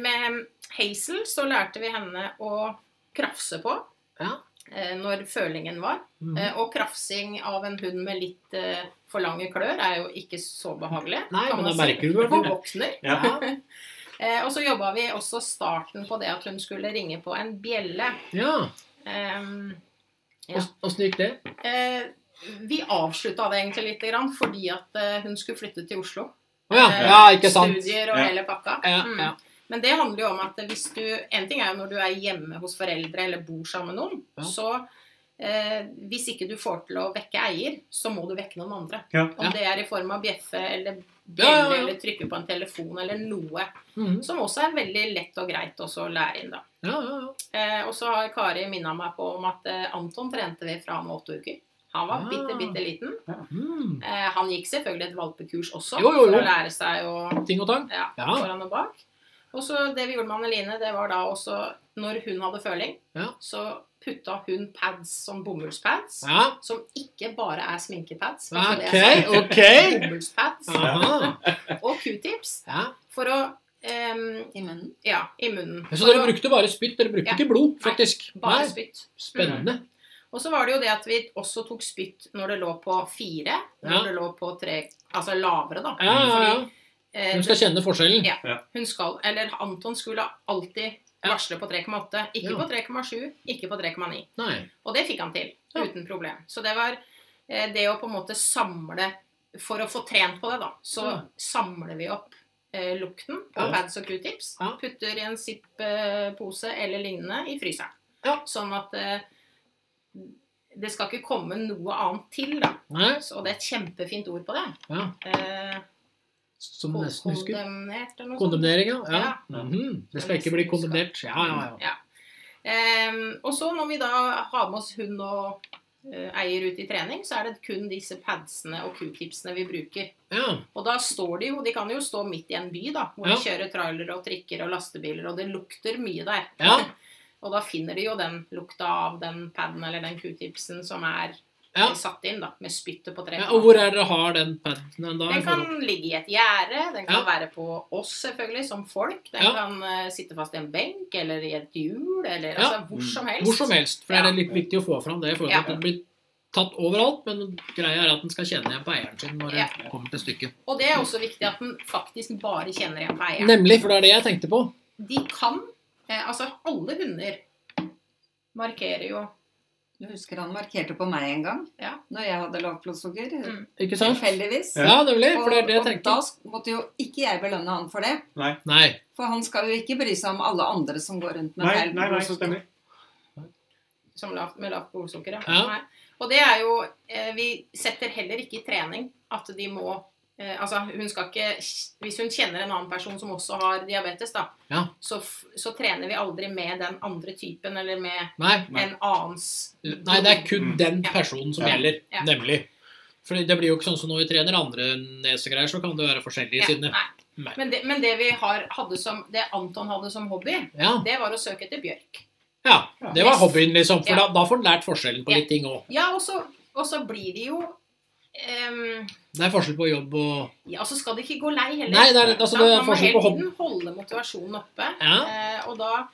[SPEAKER 3] med Hazel så lærte vi henne å krafse på
[SPEAKER 2] Ja.
[SPEAKER 3] eh, når følingen var.
[SPEAKER 2] Mhm.
[SPEAKER 3] Eh, og krafsing av en hund med litt eh, for lange klør er jo ikke så behagelig.
[SPEAKER 2] Nei, men
[SPEAKER 3] kan man
[SPEAKER 2] da
[SPEAKER 3] si.
[SPEAKER 2] merker du i hvert fall
[SPEAKER 3] Hun
[SPEAKER 2] det.
[SPEAKER 3] våkner.
[SPEAKER 1] Ja.
[SPEAKER 3] Eh, og så jobba vi også starten på det at hun skulle ringe på en bjelle.
[SPEAKER 2] Ja.
[SPEAKER 3] Ehm, Ja.
[SPEAKER 2] Åssen gikk det?
[SPEAKER 3] eh, vi avslutta det egentlig lite grann fordi at eh, hun skulle flytte til Oslo.
[SPEAKER 2] Å ja.
[SPEAKER 3] Eh,
[SPEAKER 2] ja, ikke sant.
[SPEAKER 3] Studier og
[SPEAKER 1] Ja.
[SPEAKER 3] hele pakka.
[SPEAKER 2] Ja,
[SPEAKER 3] Mm.
[SPEAKER 2] ja.
[SPEAKER 3] Men det handler jo om at hvis du En ting er jo når du er hjemme hos foreldre eller bor sammen med noen,
[SPEAKER 2] Ja.
[SPEAKER 3] så eh, hvis ikke du får til å vekke eier, så må du vekke noen andre.
[SPEAKER 1] Ja.
[SPEAKER 3] Om
[SPEAKER 2] Ja.
[SPEAKER 3] det er i form av bjeffe eller bjelle
[SPEAKER 2] Ja, ja, ja.
[SPEAKER 3] eller trykke på en telefon eller noe.
[SPEAKER 2] Mhm.
[SPEAKER 3] Som også er veldig lett og greit også å lære inn, da.
[SPEAKER 2] Ja, ja, ja.
[SPEAKER 3] Eh, og så har Kari minna meg på om at eh, Anton trente vi fra han var åtte uker. Han var
[SPEAKER 2] Ah.
[SPEAKER 3] bitte, bitte liten.
[SPEAKER 2] Mhm.
[SPEAKER 3] Eh, han gikk selvfølgelig et valpekurs også,
[SPEAKER 2] Jo, jo, jo.
[SPEAKER 3] for å lære seg å
[SPEAKER 2] Ting og tang.
[SPEAKER 3] ja,
[SPEAKER 2] Ja.
[SPEAKER 3] foran og bak. Og så det vi gjorde med Anneline, det var da også når hun hadde føling,
[SPEAKER 2] Ja.
[SPEAKER 3] så putta hun pads som bomullspads.
[SPEAKER 2] Ja. Ah,
[SPEAKER 3] Som ikke bare er sminkepads. bare så Sånn det
[SPEAKER 2] Ok,
[SPEAKER 3] er sagt.
[SPEAKER 2] ok. Ah.
[SPEAKER 3] Bomullspads
[SPEAKER 2] Aha.
[SPEAKER 3] og q-tips
[SPEAKER 2] Ja.
[SPEAKER 3] for å ehm,
[SPEAKER 4] i munnen.
[SPEAKER 3] Ja, i munnen.
[SPEAKER 2] Så
[SPEAKER 3] For
[SPEAKER 2] dere
[SPEAKER 3] å-
[SPEAKER 2] brukte bare spytt, dere brukte
[SPEAKER 3] Ja.
[SPEAKER 2] ikke blod, faktisk?
[SPEAKER 3] bare
[SPEAKER 2] Nei.
[SPEAKER 3] spytt. Mm.
[SPEAKER 2] Spennende.
[SPEAKER 3] Og så var det jo det at vi også tok spytt når det lå på fire, når
[SPEAKER 2] Ja.
[SPEAKER 3] det lå på tre Altså lavere, da.
[SPEAKER 2] Ja, ja, ja.
[SPEAKER 3] Eh,
[SPEAKER 2] De skal kjenne forskjellen.
[SPEAKER 3] Ja. hun skal, eller Anton skulle alltid
[SPEAKER 2] Ja.
[SPEAKER 3] varsle på 3,8. Ikke
[SPEAKER 2] Ja.
[SPEAKER 3] på 3,7, ikke på 3,9.
[SPEAKER 2] Nei.
[SPEAKER 3] Og det fikk han til
[SPEAKER 2] Ja.
[SPEAKER 3] uten problem. Så det var eh, det å på en måte samle For å få trent på det, da, så
[SPEAKER 2] Ja.
[SPEAKER 3] samler vi opp eh, lukten på
[SPEAKER 2] Ja.
[SPEAKER 3] pads og q-tips.
[SPEAKER 2] Ja.
[SPEAKER 3] Putter i en zipp-pose eller lignende i fryseren.
[SPEAKER 2] Ja.
[SPEAKER 3] Sånn at eh, det skal ikke komme noe annet til, da.
[SPEAKER 2] Nei.
[SPEAKER 3] Så det er et kjempefint ord på det.
[SPEAKER 2] Ja.
[SPEAKER 3] Eh,
[SPEAKER 2] Som jeg nesten husker.
[SPEAKER 3] kondemnert eller noe sånt.
[SPEAKER 2] Kondemnering, ja. ja.
[SPEAKER 1] Ja.
[SPEAKER 2] Mhm. Det skal ikke bli kondemnert. Ja, ja, ja.
[SPEAKER 3] Ja. Ehm, og så når vi da har med oss hund og eh, eier ut i trening, så er det kun disse padsene og q-tipsene vi bruker.
[SPEAKER 2] ja.
[SPEAKER 3] Og da står de jo De kan jo stå midt i en by, da, hvor
[SPEAKER 2] Ja.
[SPEAKER 3] de kjører trailer og trikker og lastebiler, og det lukter mye der.
[SPEAKER 2] Ja.
[SPEAKER 3] Og da finner de jo den lukta av den paden eller den q-tipsen som er
[SPEAKER 2] Ja.
[SPEAKER 3] satt inn, da, med spyttet på tre.
[SPEAKER 2] ja. Og hvor er dere har den paden da?
[SPEAKER 3] Den kan ligge i et gjerde, den kan
[SPEAKER 2] Ja.
[SPEAKER 3] være på oss selvfølgelig, som folk. Den
[SPEAKER 2] Ja.
[SPEAKER 3] kan eh, sitte fast i en benk eller i et hjul, eller
[SPEAKER 2] Ja. Mm.
[SPEAKER 3] altså hvor som helst.
[SPEAKER 2] Hvor som helst. For det
[SPEAKER 3] Ja.
[SPEAKER 2] er litt viktig å få fram det. i forhold til
[SPEAKER 3] Ja.
[SPEAKER 2] at Den blir tatt overalt, men greia er at den skal kjenne igjen på eieren sin når det kommer til stykket.
[SPEAKER 3] Og det er også viktig at den faktisk bare kjenner igjen på eieren.
[SPEAKER 2] Nemlig, for det er det jeg tenkte på.
[SPEAKER 3] De kan eh, Altså, alle hunder markerer jo
[SPEAKER 4] Du husker han markerte på meg en gang
[SPEAKER 3] Ja.
[SPEAKER 4] når jeg hadde lavt blodsukker.
[SPEAKER 3] Mm.
[SPEAKER 2] Ikke sant?
[SPEAKER 4] Tilfeldigvis.
[SPEAKER 2] Ja, nemlig.
[SPEAKER 4] Og,
[SPEAKER 2] For det er det jeg
[SPEAKER 4] og
[SPEAKER 2] tenkte.
[SPEAKER 4] da sk- måtte jo ikke jeg belønne han for det.
[SPEAKER 2] Nei.
[SPEAKER 4] For han skal jo ikke bry seg om alle andre som går rundt med
[SPEAKER 1] Nei,
[SPEAKER 4] feil
[SPEAKER 1] nei, nei,
[SPEAKER 4] blodsukker.
[SPEAKER 1] stemmer.
[SPEAKER 3] som lavt, med lavt blodsukker. Ja.
[SPEAKER 2] Ja.
[SPEAKER 3] Nei. Og det er jo eh, Vi setter heller ikke i trening at de må eh, Altså, hun skal ikke Hvis hun kjenner en annen person som også har diabetes, da,
[SPEAKER 2] Ja.
[SPEAKER 3] så, f- så trener vi aldri med den andre typen eller med
[SPEAKER 2] Nei.
[SPEAKER 1] Nei.
[SPEAKER 3] en annens
[SPEAKER 2] Nei, det er kun
[SPEAKER 1] Mm.
[SPEAKER 2] den personen som
[SPEAKER 1] Ja.
[SPEAKER 2] gjelder.
[SPEAKER 3] Ja.
[SPEAKER 2] Nemlig. For det blir jo ikke sånn som når vi trener andre nesegreier, så kan det være forskjellige
[SPEAKER 3] Ja,
[SPEAKER 2] sine.
[SPEAKER 3] nei.
[SPEAKER 2] Nei.
[SPEAKER 3] Men det, men det vi har, hadde som Det Anton hadde som hobby,
[SPEAKER 2] Ja.
[SPEAKER 3] det var å søke etter bjørk.
[SPEAKER 2] ja. Det var
[SPEAKER 3] Yes.
[SPEAKER 2] hobbyen, liksom. For
[SPEAKER 3] Ja.
[SPEAKER 2] da, da får en lært forskjellen på
[SPEAKER 3] Ja.
[SPEAKER 2] litt ting òg.
[SPEAKER 3] Ja, og så, og så blir de jo ehm,
[SPEAKER 2] Det er forskjell på jobb og
[SPEAKER 3] Ja, så skal de ikke gå lei heller.
[SPEAKER 2] Nei, det er, altså,
[SPEAKER 3] Da
[SPEAKER 2] det er
[SPEAKER 3] man må
[SPEAKER 2] forskjell på
[SPEAKER 3] hele
[SPEAKER 2] hobb...
[SPEAKER 3] tiden holde motivasjonen oppe.
[SPEAKER 2] Ja.
[SPEAKER 3] Eh, og da,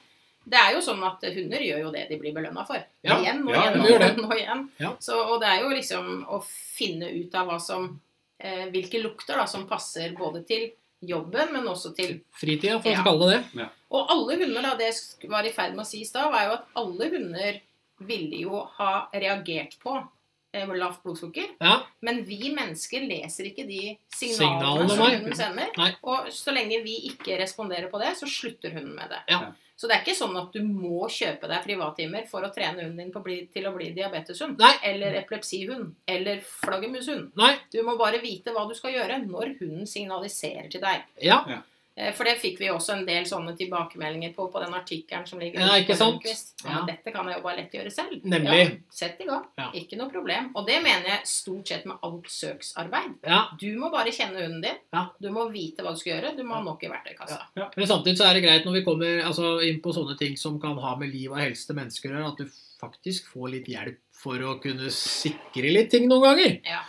[SPEAKER 3] det er jo sånn at hunder gjør jo det de blir belønna for.
[SPEAKER 2] Ja.
[SPEAKER 3] Igjen og
[SPEAKER 1] Ja,
[SPEAKER 3] igjen
[SPEAKER 1] de
[SPEAKER 3] og
[SPEAKER 2] gjør
[SPEAKER 3] igjen. Og, igjen.
[SPEAKER 2] Ja.
[SPEAKER 3] Så, og det er jo liksom å finne ut av hva som, eh, hvilke lukter da, som passer både til jobben, men også til
[SPEAKER 2] Fritida, for
[SPEAKER 3] Ja.
[SPEAKER 2] å kalle det det.
[SPEAKER 3] Og alle hunder, da, det jeg sk- var i ferd med å si i stad, var jo at alle hunder ville jo ha reagert på eh, lavt blodsukker.
[SPEAKER 2] Ja.
[SPEAKER 3] Men vi mennesker leser ikke de
[SPEAKER 2] Signalene,
[SPEAKER 3] signalene som
[SPEAKER 2] nei.
[SPEAKER 3] hunden sender.
[SPEAKER 2] Nei.
[SPEAKER 3] Og så lenge vi ikke responderer på det, så slutter hunden med det.
[SPEAKER 2] Ja.
[SPEAKER 3] Så det er ikke sånn at du må kjøpe deg privatimer for å trene hunden din på å bli, til å bli diabeteshund.
[SPEAKER 2] Nei.
[SPEAKER 3] Eller epilepsihund. Eller flaggermushund.
[SPEAKER 2] Nei.
[SPEAKER 3] Du må bare vite hva du skal gjøre når hunden signaliserer til deg.
[SPEAKER 2] Ja.
[SPEAKER 3] Eh, For det fikk vi også en del sånne tilbakemeldinger på på den artikkelen som ligger
[SPEAKER 2] Ja,
[SPEAKER 3] ute på
[SPEAKER 2] ikke sant?
[SPEAKER 3] Rundquist. Ja, men Dette kan jeg jo bare lett gjøre selv.
[SPEAKER 2] Nemlig.
[SPEAKER 3] Ja, sett i gang.
[SPEAKER 2] Ja.
[SPEAKER 3] Ikke noe problem. Og det mener jeg stort sett med alt søksarbeid.
[SPEAKER 2] Ja.
[SPEAKER 3] Du må bare kjenne hunden din.
[SPEAKER 2] Ja.
[SPEAKER 3] Du må vite hva du skal gjøre. Du må ha nok i verktøykassa.
[SPEAKER 2] Men samtidig så er det greit når vi kommer altså, inn på sånne ting som kan ha med liv og helse til mennesker å gjøre, at du faktisk får litt hjelp for å kunne sikre litt ting noen ganger.
[SPEAKER 3] Ja.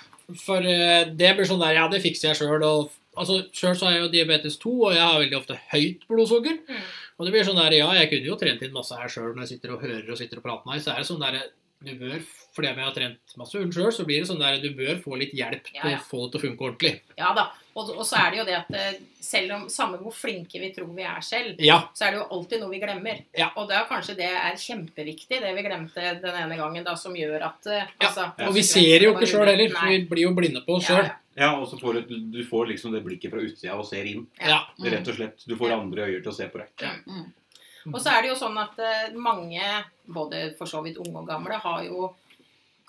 [SPEAKER 2] For eh, det blir sånn der Ja, det fikser jeg sjøl. Altså, sjøl så har jeg jo diabetes 2, og jeg har veldig ofte høyt blodsukker.
[SPEAKER 3] Mm.
[SPEAKER 2] Og det blir sånn der Ja, jeg kunne jo trent inn masse her sjøl når jeg sitter og hører og sitter og prater med deg. Så er det sånn der Du bør, fordi om jeg har trent masse hund sjøl, så blir det sånn der Du bør få litt hjelp
[SPEAKER 3] Ja,
[SPEAKER 2] til
[SPEAKER 3] ja.
[SPEAKER 2] å få det til å funke ordentlig.
[SPEAKER 3] Ja da. Og, og så er det jo det at eh, selv om samme hvor flinke vi tror vi er selv,
[SPEAKER 2] Ja.
[SPEAKER 3] så er det jo alltid noe vi glemmer.
[SPEAKER 2] Ja.
[SPEAKER 3] Og det er kanskje det er kjempeviktig, det vi glemte den ene gangen, da, som gjør at eh,
[SPEAKER 2] Ja,
[SPEAKER 1] Ja.
[SPEAKER 2] Og vi ser jo ikke sjøl heller,
[SPEAKER 3] Nei.
[SPEAKER 2] for vi blir jo blinde på oss
[SPEAKER 3] Ja,
[SPEAKER 2] sjøl.
[SPEAKER 3] ja.
[SPEAKER 1] Ja, og så får du, du får liksom det blikket fra utsida og ser inn.
[SPEAKER 2] Ja.
[SPEAKER 4] Mm.
[SPEAKER 1] Rett og slett. Du får
[SPEAKER 3] Mm. Ja.
[SPEAKER 1] andre øyne til å se på deg.
[SPEAKER 3] Og så er det jo sånn at eh, mange, både for så vidt unge og gamle, har jo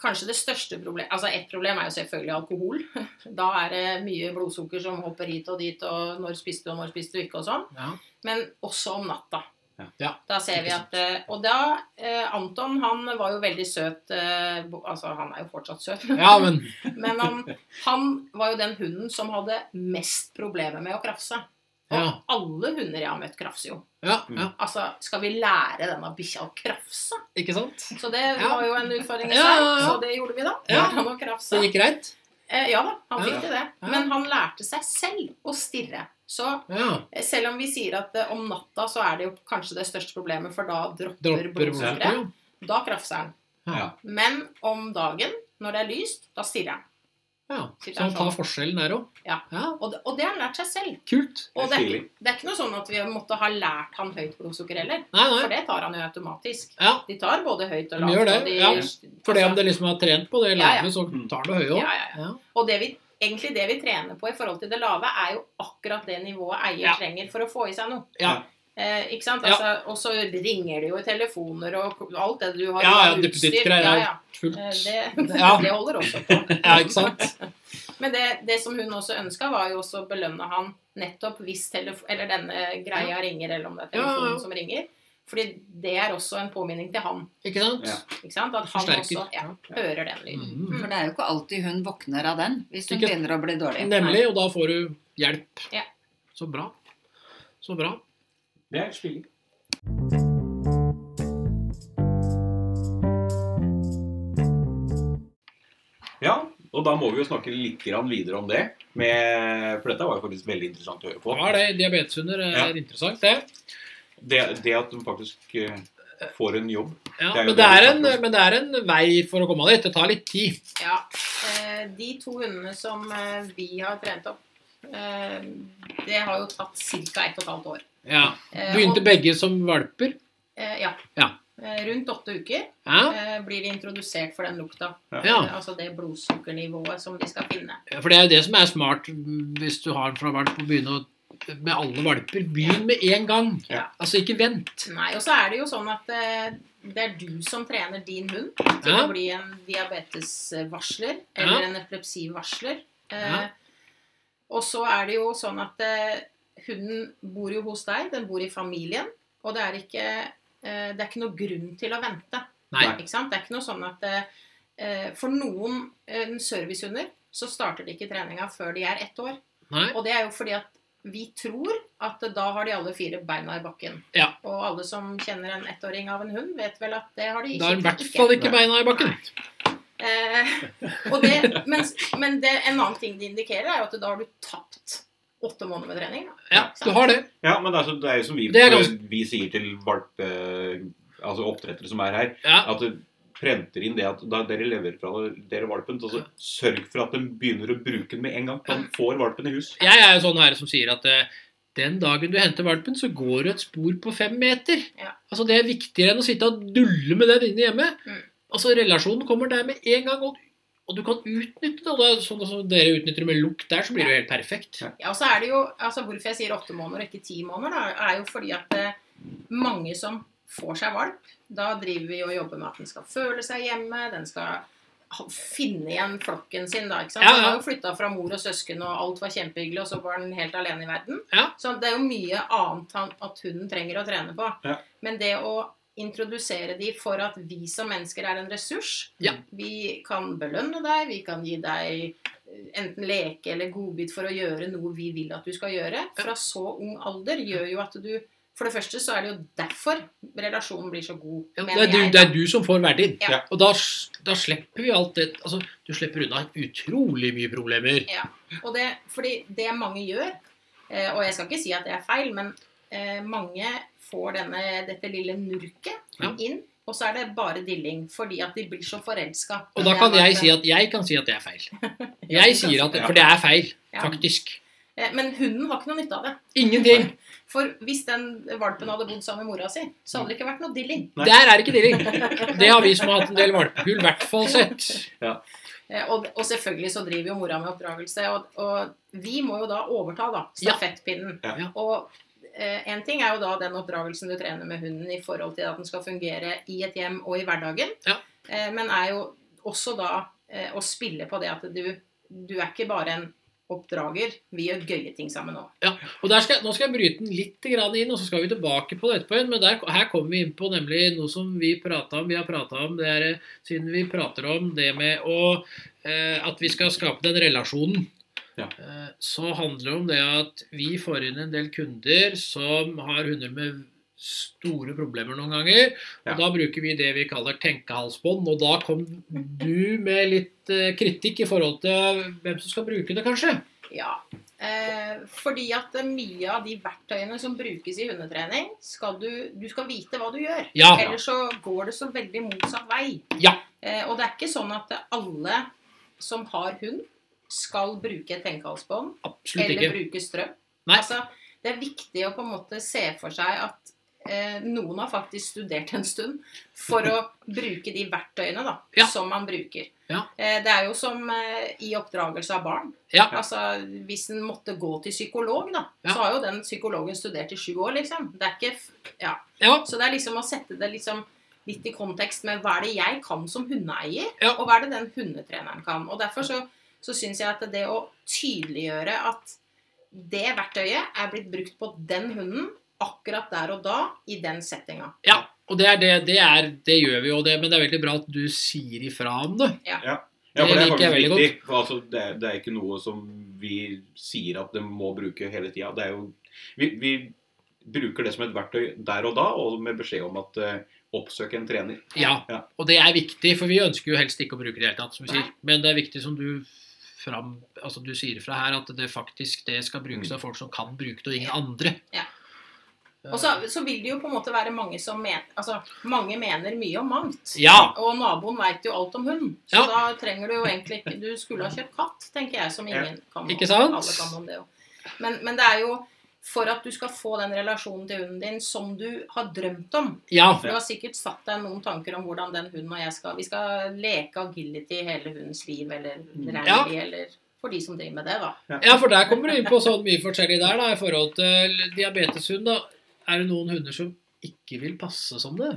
[SPEAKER 3] kanskje det største problemet Altså ett problem er jo selvfølgelig alkohol. Da er det mye blodsukker som hopper hit og dit, og når spiste du, og når spiste du ikke, og sånn.
[SPEAKER 2] Ja.
[SPEAKER 3] Men også om natta.
[SPEAKER 1] Ja.
[SPEAKER 2] Ja,
[SPEAKER 3] Da ser vi
[SPEAKER 2] ikke
[SPEAKER 3] at eh, Og da eh, Anton, han var jo veldig søt eh, bo- Altså, han er jo fortsatt søt.
[SPEAKER 2] Ja, men
[SPEAKER 3] Men um, han, han var jo den hunden som hadde mest problemer med å krafse. Og
[SPEAKER 2] Ja.
[SPEAKER 3] alle hunder jeg har møtt, krafser jo.
[SPEAKER 2] Ja, ja.
[SPEAKER 3] Altså, skal vi lære denne bikkja å krafse?
[SPEAKER 2] Ikke sant?
[SPEAKER 3] Så det
[SPEAKER 2] Ja.
[SPEAKER 3] var jo en utfordring i
[SPEAKER 2] Ja,
[SPEAKER 3] seg,
[SPEAKER 2] ja, ja.
[SPEAKER 3] så det gjorde vi da.
[SPEAKER 2] Ja.
[SPEAKER 3] Lærte han å
[SPEAKER 2] Så
[SPEAKER 3] krafse.
[SPEAKER 2] det gikk greit?
[SPEAKER 3] Eh, ja da, han
[SPEAKER 2] Ja.
[SPEAKER 3] fikk til det.
[SPEAKER 2] Ja.
[SPEAKER 3] Men han lærte seg selv å stirre. Så
[SPEAKER 2] Ja.
[SPEAKER 3] eh, selv om vi sier at eh, om natta så er det jo kanskje det største problemet, for da dropper,
[SPEAKER 2] Dropper
[SPEAKER 3] blodsukkeret.
[SPEAKER 2] blodsukkeret.
[SPEAKER 3] Da krafser han.
[SPEAKER 2] Ja.
[SPEAKER 3] Men om dagen, når det er lyst, da stirrer han.
[SPEAKER 2] ja. Så han tar forskjellen der òg.
[SPEAKER 3] sånn. Ja. Og det, og det har han lært seg selv.
[SPEAKER 2] Kult.
[SPEAKER 3] Og det er,
[SPEAKER 1] Stilig.
[SPEAKER 3] ikke, det er ikke noe sånn at vi måtte ha lært han høyt blodsukker heller.
[SPEAKER 2] Nei,
[SPEAKER 3] For
[SPEAKER 2] nei.
[SPEAKER 3] det tar han jo automatisk.
[SPEAKER 2] Ja.
[SPEAKER 3] De tar både høyt og
[SPEAKER 2] De
[SPEAKER 3] lavt.
[SPEAKER 2] gjør det,
[SPEAKER 3] og de,
[SPEAKER 2] ja. For det om det liksom har trent på det
[SPEAKER 3] Altså- Ja, ja.
[SPEAKER 2] lavet, så
[SPEAKER 1] Mm.
[SPEAKER 2] tar det høye òg.
[SPEAKER 3] Ja, ja, ja. Og det vi, egentlig det vi trener på i forhold til det lave, er jo akkurat det nivået eier
[SPEAKER 2] Ja.
[SPEAKER 3] trenger for å få i seg noe.
[SPEAKER 2] Ja.
[SPEAKER 3] Eh, ikke sant?
[SPEAKER 2] Ja.
[SPEAKER 3] Altså, Og så ringer det jo i telefoner og alt det du har
[SPEAKER 2] Ja, ja,
[SPEAKER 3] av
[SPEAKER 2] dupp-
[SPEAKER 3] utstyr.
[SPEAKER 2] ditt greier.
[SPEAKER 3] Ja, ja.
[SPEAKER 2] Fullt.
[SPEAKER 3] Eh, Det,
[SPEAKER 2] Ja.
[SPEAKER 3] det holder også på.
[SPEAKER 2] Ja, ikke sant?
[SPEAKER 3] Men det, det som hun også ønska, var jo også å belønne han nettopp hvis telefon, eller denne greia ringer, eller om det er
[SPEAKER 2] Ja,
[SPEAKER 3] telefonen
[SPEAKER 2] ja, ja.
[SPEAKER 3] som ringer. Fordi det er også en påminning til han.
[SPEAKER 2] Ikke sant?
[SPEAKER 1] Ja.
[SPEAKER 3] Ikke sant? At han også
[SPEAKER 2] Forsterker.
[SPEAKER 3] ja, hører den lyden.
[SPEAKER 2] Mm.
[SPEAKER 4] For det er jo ikke alltid hun våkner av den hvis hun
[SPEAKER 2] Ikke-
[SPEAKER 4] begynner å bli dårlig.
[SPEAKER 2] Nemlig. Og da får du hjelp.
[SPEAKER 3] Ja.
[SPEAKER 2] Så bra. Så bra.
[SPEAKER 1] Det er stilig. Ja, og da må vi jo snakke litt grann videre om det. Med, for dette var jo faktisk veldig interessant å høre på.
[SPEAKER 2] Ja, det diabeteshunder eh, er
[SPEAKER 1] Ja.
[SPEAKER 2] interessant, det.
[SPEAKER 1] Det, det at de faktisk eh, får en jobb. Det
[SPEAKER 2] Ja,
[SPEAKER 1] er jo
[SPEAKER 2] men,
[SPEAKER 1] det
[SPEAKER 2] det er
[SPEAKER 1] vi
[SPEAKER 2] en,
[SPEAKER 1] snakker om.
[SPEAKER 2] men det er en vei for å komme dit. Det tar litt tid.
[SPEAKER 3] Ja. eh, De to hundene som eh, vi har trent opp, eh, det har jo tatt ca. 1 12 år.
[SPEAKER 2] Ja.
[SPEAKER 3] Eh,
[SPEAKER 2] Begynte
[SPEAKER 3] og-
[SPEAKER 2] begge som valper.
[SPEAKER 3] eh, Ja.
[SPEAKER 2] Ja.
[SPEAKER 3] Eh, Rundt åtte uker
[SPEAKER 2] Ja.
[SPEAKER 3] eh, blir de introdusert for den lukta.
[SPEAKER 2] ja.
[SPEAKER 3] Eh, Altså det blodsukkernivået som de skal finne.
[SPEAKER 2] Ja, For det er jo det som er smart mm, hvis du har en fra valp, å begynne å, med alle valper. Begynn med en gang.
[SPEAKER 1] Ja.
[SPEAKER 2] Altså, ikke vent.
[SPEAKER 3] Nei, Og så er det jo sånn at eh, det er du som trener din hund til
[SPEAKER 2] Ja.
[SPEAKER 3] å bli en diabetesvarsler
[SPEAKER 2] Ja.
[SPEAKER 3] eller en epilepsivarsler. Eh,
[SPEAKER 2] Ja.
[SPEAKER 3] Og så er det jo sånn at eh, hunden bor jo hos deg, den bor i familien, og det er ikke, eh, det er ikke noe grunn til å vente.
[SPEAKER 2] Nei.
[SPEAKER 3] Ikke sant? Det er ikke noe sånn at eh, for noen eh, servicehunder så starter de ikke treninga før de er ett år.
[SPEAKER 2] Nei.
[SPEAKER 3] Og det er jo fordi at vi tror at da har de alle fire beina i bakken.
[SPEAKER 2] Ja.
[SPEAKER 3] Og alle som kjenner en ettåring av en hund, vet vel at det har de ikke.
[SPEAKER 2] Da er i hvert fall ikke beina i bakken.
[SPEAKER 3] Eh, og det, men men det, en annen ting det indikerer, er jo at da har du tapt åtte måneder med trening. da.
[SPEAKER 2] Ja, du har det.
[SPEAKER 1] Ja, men det er, så, det er jo som vi, eh,
[SPEAKER 2] Det er ganske-
[SPEAKER 1] vi sier til valpe... Altså oppdrettere som er her,
[SPEAKER 2] Ja.
[SPEAKER 1] at det prenter inn det at da dere leverer fra dere valpen, så så sørg for at de begynner å bruke den med en gang. De får valpen i hus.
[SPEAKER 2] Jeg er jo sånn her som sier at eh, den dagen du henter valpen, så går du et spor på fem meter.
[SPEAKER 3] Ja.
[SPEAKER 2] Altså, det er viktigere enn å sitte og dulle med den inne hjemme.
[SPEAKER 3] Mm.
[SPEAKER 2] Altså, relasjonen kommer der med en gang. Og Og du kan utnytte det. og det er Sånn som dere utnytter det med lukt der, så blir det jo helt perfekt.
[SPEAKER 3] Ja, og så er det jo, altså Hvorfor jeg sier åtte måneder og ikke ti måneder, da, er jo fordi at eh, mange som får seg valp, da driver vi og jobber med at den skal føle seg hjemme, den skal ha- finne igjen flokken sin. da, ikke sant?
[SPEAKER 2] Ja, ja.
[SPEAKER 3] Den har jo flytta fra mor og søsken, og alt var kjempehyggelig, og så var den helt alene i verden.
[SPEAKER 2] Ja.
[SPEAKER 3] Så det er jo mye annet han, at hunden trenger å trene på.
[SPEAKER 1] Ja.
[SPEAKER 3] Men det å introdusere de for at vi som mennesker er en ressurs.
[SPEAKER 2] Ja.
[SPEAKER 3] Vi kan belønne deg, vi kan gi deg eh, enten leke eller godbit for å gjøre noe vi vil at du skal gjøre, fra så ung alder, gjør jo at du For det første så er det jo derfor relasjonen blir så god.
[SPEAKER 2] Ja, det,
[SPEAKER 3] mener
[SPEAKER 2] er du,
[SPEAKER 3] jeg.
[SPEAKER 2] det er du som får verdien.
[SPEAKER 3] Ja.
[SPEAKER 2] Og da, s- da slipper vi alt det altså, Du slipper unna utrolig mye problemer.
[SPEAKER 3] Og det, fordi det mange gjør, eh, og jeg skal ikke si at det er feil, men eh, mange får denne, dette lille nurket
[SPEAKER 2] Ja.
[SPEAKER 3] inn, og så er det bare dilling, fordi at de blir så forelska.
[SPEAKER 2] Og da kan jeg si at jeg kan si at det er feil. Jeg sier at For det er feil, faktisk.
[SPEAKER 3] Eh, Men hunden har ikke noe nytte av det.
[SPEAKER 2] Ingenting.
[SPEAKER 3] For hvis den valpen hadde bodd sammen med mora si, så hadde det ikke vært noe dilling.
[SPEAKER 1] Nei.
[SPEAKER 2] Der er ikke dealing. Det har vi som har hatt en del valpekull, i hvert fall sett.
[SPEAKER 3] Eh, Og, og selvfølgelig så driver jo mora med oppdragelse, og, og vi må jo da overta da,
[SPEAKER 2] Ja.
[SPEAKER 3] stafettpinnen.
[SPEAKER 2] Ja.
[SPEAKER 3] Og eh, en ting er jo da den oppdragelsen du trener med hunden i forhold til at den skal fungere i et hjem og i hverdagen,
[SPEAKER 2] Ja.
[SPEAKER 3] eh, men er jo også da eh, å spille på det at du, du er ikke bare en oppdrager, vi gjør gøye ting sammen òg.
[SPEAKER 2] Og der skal, Nå skal jeg bryte den litt grann inn, og så skal vi tilbake på det etterpå. igjen, Men der, her kommer vi inn på nemlig noe som vi pratet om. Vi har pratet om det er, eh, siden vi prater om det med å, eh, at vi skal skape den relasjonen.
[SPEAKER 1] Ja.
[SPEAKER 2] Eh, så handler det om det at vi får inn en del kunder som har hunder med store problemer noen ganger.
[SPEAKER 1] Ja.
[SPEAKER 2] Og da bruker vi det vi kaller tenkehalsbånd. Og da kom du med litt eh, kritikk i forhold til hvem som skal bruke det, kanskje.
[SPEAKER 3] Ja. Eh, fordi at eh, mye av de verktøyene som brukes i hundetrening, skal du, du skal vite hva du gjør.
[SPEAKER 2] Ja.
[SPEAKER 3] Ellers så går det så veldig motsatt vei.
[SPEAKER 2] Ja.
[SPEAKER 3] Eh, og det er ikke sånn at eh, alle som har hund, skal bruke et tenkehalsbånd
[SPEAKER 2] Absolutt
[SPEAKER 3] eller
[SPEAKER 2] ikke.
[SPEAKER 3] bruke strøm.
[SPEAKER 2] Nei.
[SPEAKER 3] Altså, det er viktig å på en måte se for seg at eh, noen har faktisk studert en stund for å bruke de verktøyene da,
[SPEAKER 2] Ja.
[SPEAKER 3] som man bruker.
[SPEAKER 2] Ja.
[SPEAKER 3] Eh, det er jo som eh, i oppdragelse av barn.
[SPEAKER 2] Ja.
[SPEAKER 3] Altså, hvis en måtte gå til psykolog, da,
[SPEAKER 2] Ja.
[SPEAKER 3] så har jo den psykologen studert i sju år, liksom. Det er ikke, f- ja.
[SPEAKER 2] Ja.
[SPEAKER 3] Så det er liksom å sette det liksom litt i kontekst med hva er det jeg kan som hundeeier,
[SPEAKER 2] Ja.
[SPEAKER 3] og hva er det den hundetreneren kan. Og Derfor så, så syns jeg at det å tydeliggjøre at det verktøyet er blitt brukt på den hunden akkurat der og da, i den settinga.
[SPEAKER 2] Ja, og det, er det, det, er, det gjør vi jo, det, men det er veldig bra at du sier ifra om det.
[SPEAKER 1] Ja, for det
[SPEAKER 2] Det
[SPEAKER 1] er
[SPEAKER 2] liker jeg
[SPEAKER 1] faktisk
[SPEAKER 2] veldig
[SPEAKER 1] viktig. For altså, det, er- det er ikke noe som vi sier at de må bruke hele tida. Det er jo vi, vi bruker det som et verktøy der og da, og med beskjed om at eh, oppsøk en trener.
[SPEAKER 2] Ja,
[SPEAKER 1] Ja.
[SPEAKER 2] Og det er viktig, for vi ønsker jo helst ikke å bruke det i det hele tatt, som vi
[SPEAKER 3] Nei.
[SPEAKER 2] sier. Men det er viktig som du, fram, altså du sier fra her, at det faktisk det skal brukes av folk som kan bruke det, og ingen andre. Eh,
[SPEAKER 3] Ja. Og så, så vil det jo på en måte være mange som mener Altså, mange mener mye om mangt.
[SPEAKER 2] Ja.
[SPEAKER 3] Og naboen veit jo alt om hund, så
[SPEAKER 2] Ja.
[SPEAKER 3] da trenger du jo egentlig ikke Du skulle ha kjøpt katt, tenker jeg, som ingen kan
[SPEAKER 2] Ikke sant?
[SPEAKER 3] Alle kan om det jo. Men, men det er jo for at du skal få den relasjonen til hunden din som du har drømt om.
[SPEAKER 2] ja.
[SPEAKER 3] For du har sikkert satt deg noen tanker om hvordan den hunden og jeg skal Vi skal leke agility hele hundens liv, eller
[SPEAKER 2] Mm. Ja.
[SPEAKER 3] rally, eller For de som driver med det, da.
[SPEAKER 2] Ja, for der kommer du inn på sånn mye forskjellig der, da, i forhold til diabeteshund, da. Er det noen hunder som ikke vil passe som det?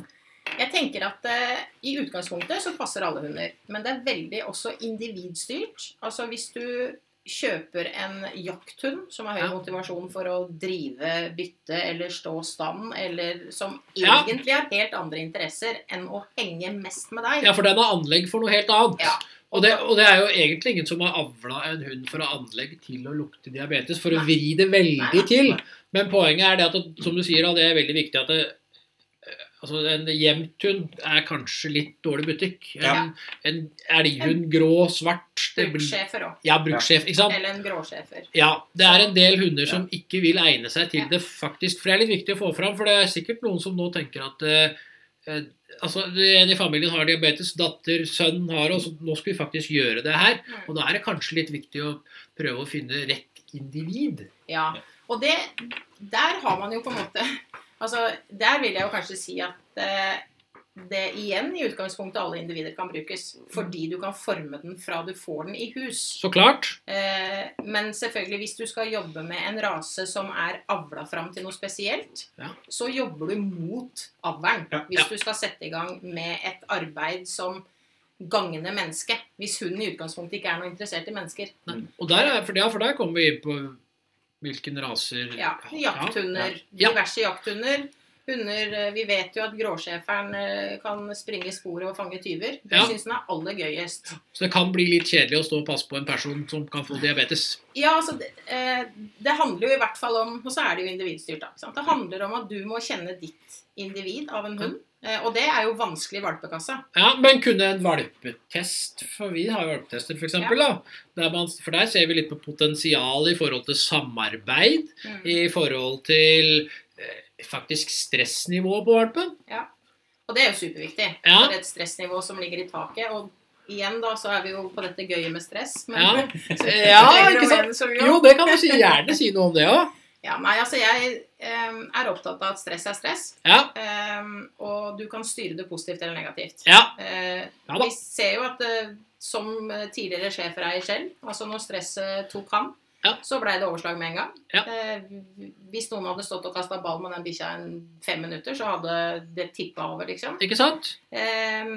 [SPEAKER 3] Jeg tenker at eh, I utgangspunktet så passer alle hunder, men det er veldig også individstyrt. Altså Hvis du kjøper en jakthund som har høy
[SPEAKER 2] Ja.
[SPEAKER 3] motivasjon for å drive bytte eller stå stand, eller som
[SPEAKER 2] Ja.
[SPEAKER 3] egentlig har helt andre interesser enn å henge mest med deg
[SPEAKER 2] Ja, for den har anlegg for noe helt annet.
[SPEAKER 3] Ja.
[SPEAKER 2] Og, det, og det er jo egentlig ingen som har avla en hund fra anlegg til å lukte diabetes, for å vri det veldig
[SPEAKER 3] Nei.
[SPEAKER 2] til. Men poenget er det at, det- som du sier, da, det er veldig viktig at det, eh, altså en gjemt hund er kanskje litt dårlig butikk. En,
[SPEAKER 1] Ja.
[SPEAKER 2] en elghund, grå, svart det blir,
[SPEAKER 3] Brukssjefer òg.
[SPEAKER 2] Ja, brukssjef, ikke sant?
[SPEAKER 3] Eller en gråsjefer.
[SPEAKER 2] Ja, det er en del hunder som ikke vil egne seg til det, faktisk. For det er litt viktig å få fram, for det er sikkert noen som nå tenker at eh, eh, Altså, en i familien har diabetes, datter, sønn har det, og så nå skal vi faktisk gjøre det her.
[SPEAKER 3] Mm.
[SPEAKER 2] Og da er det kanskje litt viktig å prøve å finne rett individ.
[SPEAKER 3] Ja. Og det Der har man jo på en måte Altså, der vil jeg jo kanskje si at eh, det igjen i utgangspunktet alle individer kan brukes. Fordi du kan forme den fra du får den i hus.
[SPEAKER 2] Så klart.
[SPEAKER 3] Eh, Men selvfølgelig, hvis du skal jobbe med en rase som er avla fram til noe spesielt,
[SPEAKER 2] Ja.
[SPEAKER 3] så jobber du mot avlen.
[SPEAKER 1] Ja.
[SPEAKER 3] Hvis
[SPEAKER 2] Ja.
[SPEAKER 3] du skal sette i gang med et arbeid som gagner mennesket. Hvis hunden i utgangspunktet ikke er noe interessert i mennesker.
[SPEAKER 2] Nei. Og der er, for, ja, for der kommer vi inn på hvilken raser
[SPEAKER 3] Ja, Jakthunder.
[SPEAKER 2] Ja.
[SPEAKER 3] Diverse jakthunder. Hunder, eh, Vi vet jo at gråsjeferen eh, kan springe i sporet og fange tyver. Det
[SPEAKER 2] Ja.
[SPEAKER 3] syns den er aller gøyest.
[SPEAKER 2] Så det kan bli litt kjedelig å stå og passe på en person som kan få diabetes.
[SPEAKER 3] Ja, altså, det, eh, det handler jo i hvert fall om Og så er det jo individstyrt, da. ikke Sant? Det handler om at du må kjenne ditt individ av en hund. Eh, og det er jo vanskelig i valpekassa.
[SPEAKER 2] Ja, Men kunne en valpetest For vi har jo valpetester, f.eks. eksempel da, Der man, for der ser vi litt på potensial i forhold til samarbeid. I forhold til eh, faktisk stressnivå på valpen.
[SPEAKER 3] Og det er jo superviktig.
[SPEAKER 2] Ja.
[SPEAKER 3] For et stressnivå som ligger i taket. Og igjen, da, så er vi jo på dette gøyet med stress.
[SPEAKER 2] Ja,
[SPEAKER 3] Men så-
[SPEAKER 2] ja
[SPEAKER 3] trenger du
[SPEAKER 2] ikke sant?
[SPEAKER 3] mer som gjør.
[SPEAKER 2] Jo, det kan du si, gjerne si noe om det òg.
[SPEAKER 3] Ja, nei, altså jeg eh, er opptatt av at stress er stress.
[SPEAKER 2] Ja,
[SPEAKER 3] Eh, og du kan styre det positivt eller negativt.
[SPEAKER 2] ja,
[SPEAKER 3] Eh,
[SPEAKER 2] Ja da.
[SPEAKER 3] vi ser jo at eh, som eh, tidligere sjefreier selv, altså når stresset tok han,
[SPEAKER 2] Ja.
[SPEAKER 3] så blei det overslag med en gang.
[SPEAKER 2] Ja.
[SPEAKER 3] Eh, hvis noen hadde stått og kasta ball med den bikkja i fem minutter, så hadde det tippa over, liksom.
[SPEAKER 2] ikke sant?
[SPEAKER 3] Eh,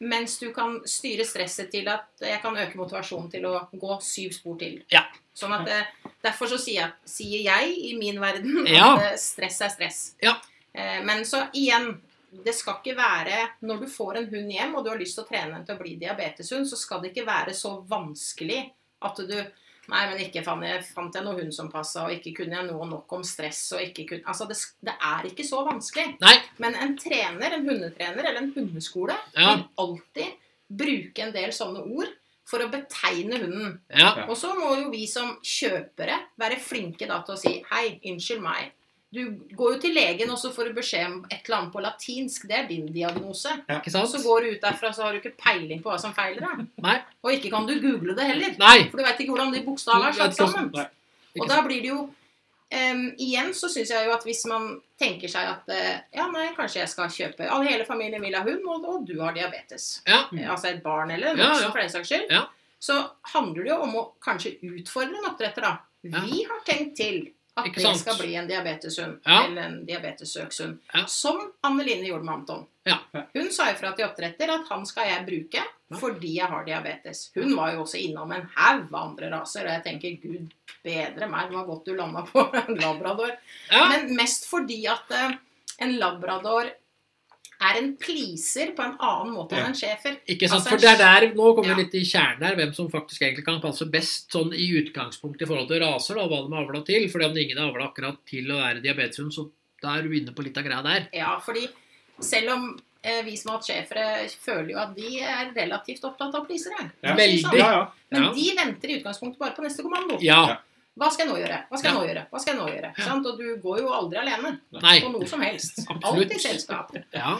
[SPEAKER 3] mens du kan styre stresset til at jeg kan øke motivasjonen til å gå syv spor til.
[SPEAKER 2] Ja.
[SPEAKER 3] Sånn at eh, Derfor så sier jeg, sier jeg i min verden at
[SPEAKER 2] Ja.
[SPEAKER 3] eh, stress er stress.
[SPEAKER 2] Ja.
[SPEAKER 3] Eh, men så igjen det skal ikke være, Når du får en hund hjem og du har lyst til å trene den til å bli diabeteshund, så skal det ikke være så vanskelig at du Nei, men ikke fant jeg, fant jeg noen hund som passa, og ikke kunne jeg noe nok om stress og ikke kunne Altså, det, sk- det er ikke så vanskelig.
[SPEAKER 2] Nei,
[SPEAKER 3] Men en trener, en hundetrener eller en hundeskole
[SPEAKER 2] Ja.
[SPEAKER 3] vil alltid bruke en del sånne ord for å betegne hunden.
[SPEAKER 2] ja,
[SPEAKER 1] Ja.
[SPEAKER 3] Og så må jo vi som kjøpere være flinke da til å si Hei, unnskyld meg. Du går jo til legen, og så får du beskjed om et eller annet på latinsk. Det er din diagnose.
[SPEAKER 2] ikke
[SPEAKER 3] Og
[SPEAKER 2] sant?
[SPEAKER 3] så går du ut derfra, så har du ikke peiling på hva som feiler deg.
[SPEAKER 2] Nei.
[SPEAKER 3] Og ikke kan du google det heller.
[SPEAKER 2] Nei.
[SPEAKER 3] For du veit ikke hvordan de bokstavene er satt sammen.
[SPEAKER 1] Nei.
[SPEAKER 3] Og da blir det jo em, Igjen så syns jeg jo at hvis man tenker seg at eh, ja, nei, kanskje jeg skal kjøpe all, Hele familien vil ha hund, og, og du har diabetes.
[SPEAKER 2] Ja.
[SPEAKER 3] Eh, Altså et barn eller en
[SPEAKER 2] Mm. Ja,
[SPEAKER 3] voksen,
[SPEAKER 2] ja.
[SPEAKER 3] for den saks skyld.
[SPEAKER 2] Ja.
[SPEAKER 3] Så handler det jo om å kanskje utfordre en oppdretter, da.
[SPEAKER 2] Ja.
[SPEAKER 3] Vi har tenkt til at
[SPEAKER 2] Ikke
[SPEAKER 3] det
[SPEAKER 2] sant?
[SPEAKER 3] skal bli en diabeteshund.
[SPEAKER 2] Ja.
[SPEAKER 3] Eller en diabetessøkshund.
[SPEAKER 2] Ja.
[SPEAKER 3] Som Anne Line gjorde med Anton.
[SPEAKER 2] Ja.
[SPEAKER 3] Hun sa ifra til oppdretter at han skal jeg bruke fordi jeg har diabetes. Hun var jo også innom en haug av andre raser, og jeg tenker gud bedre meg, det var godt du landa på en labrador.
[SPEAKER 2] Ja.
[SPEAKER 3] Men mest fordi at eh, en labrador er en pleaser på en annen måte enn en schæfer.
[SPEAKER 2] Ikke sant,
[SPEAKER 3] Altså,
[SPEAKER 2] for det er der, Nå kommer
[SPEAKER 3] ja.
[SPEAKER 2] vi litt i kjernen her, hvem som faktisk egentlig kan passe best sånn i utgangspunktet i forhold til raser, da, hva de er avla til. fordi om ingen er avla akkurat til å være diabeteshund, så da er du inne på litt av greia der.
[SPEAKER 3] Ja, fordi selv om eh, vi som har hatt schæfere, føler jo at de er relativt opptatt av pleasere.
[SPEAKER 1] Ja.
[SPEAKER 2] Veldig.
[SPEAKER 1] Ja, ja.
[SPEAKER 3] sånn. Men
[SPEAKER 2] Ja.
[SPEAKER 3] de venter i utgangspunktet bare på neste kommando.
[SPEAKER 2] Ja.
[SPEAKER 3] Hva skal jeg nå gjøre? Hva skal jeg nå gjøre? Hva skal jeg nå gjøre?
[SPEAKER 2] Ja.
[SPEAKER 3] Sant? Og du går jo aldri alene
[SPEAKER 2] Nei.
[SPEAKER 3] på noe som helst.
[SPEAKER 2] Absolutt.
[SPEAKER 3] Alltid selskap.
[SPEAKER 2] Ja.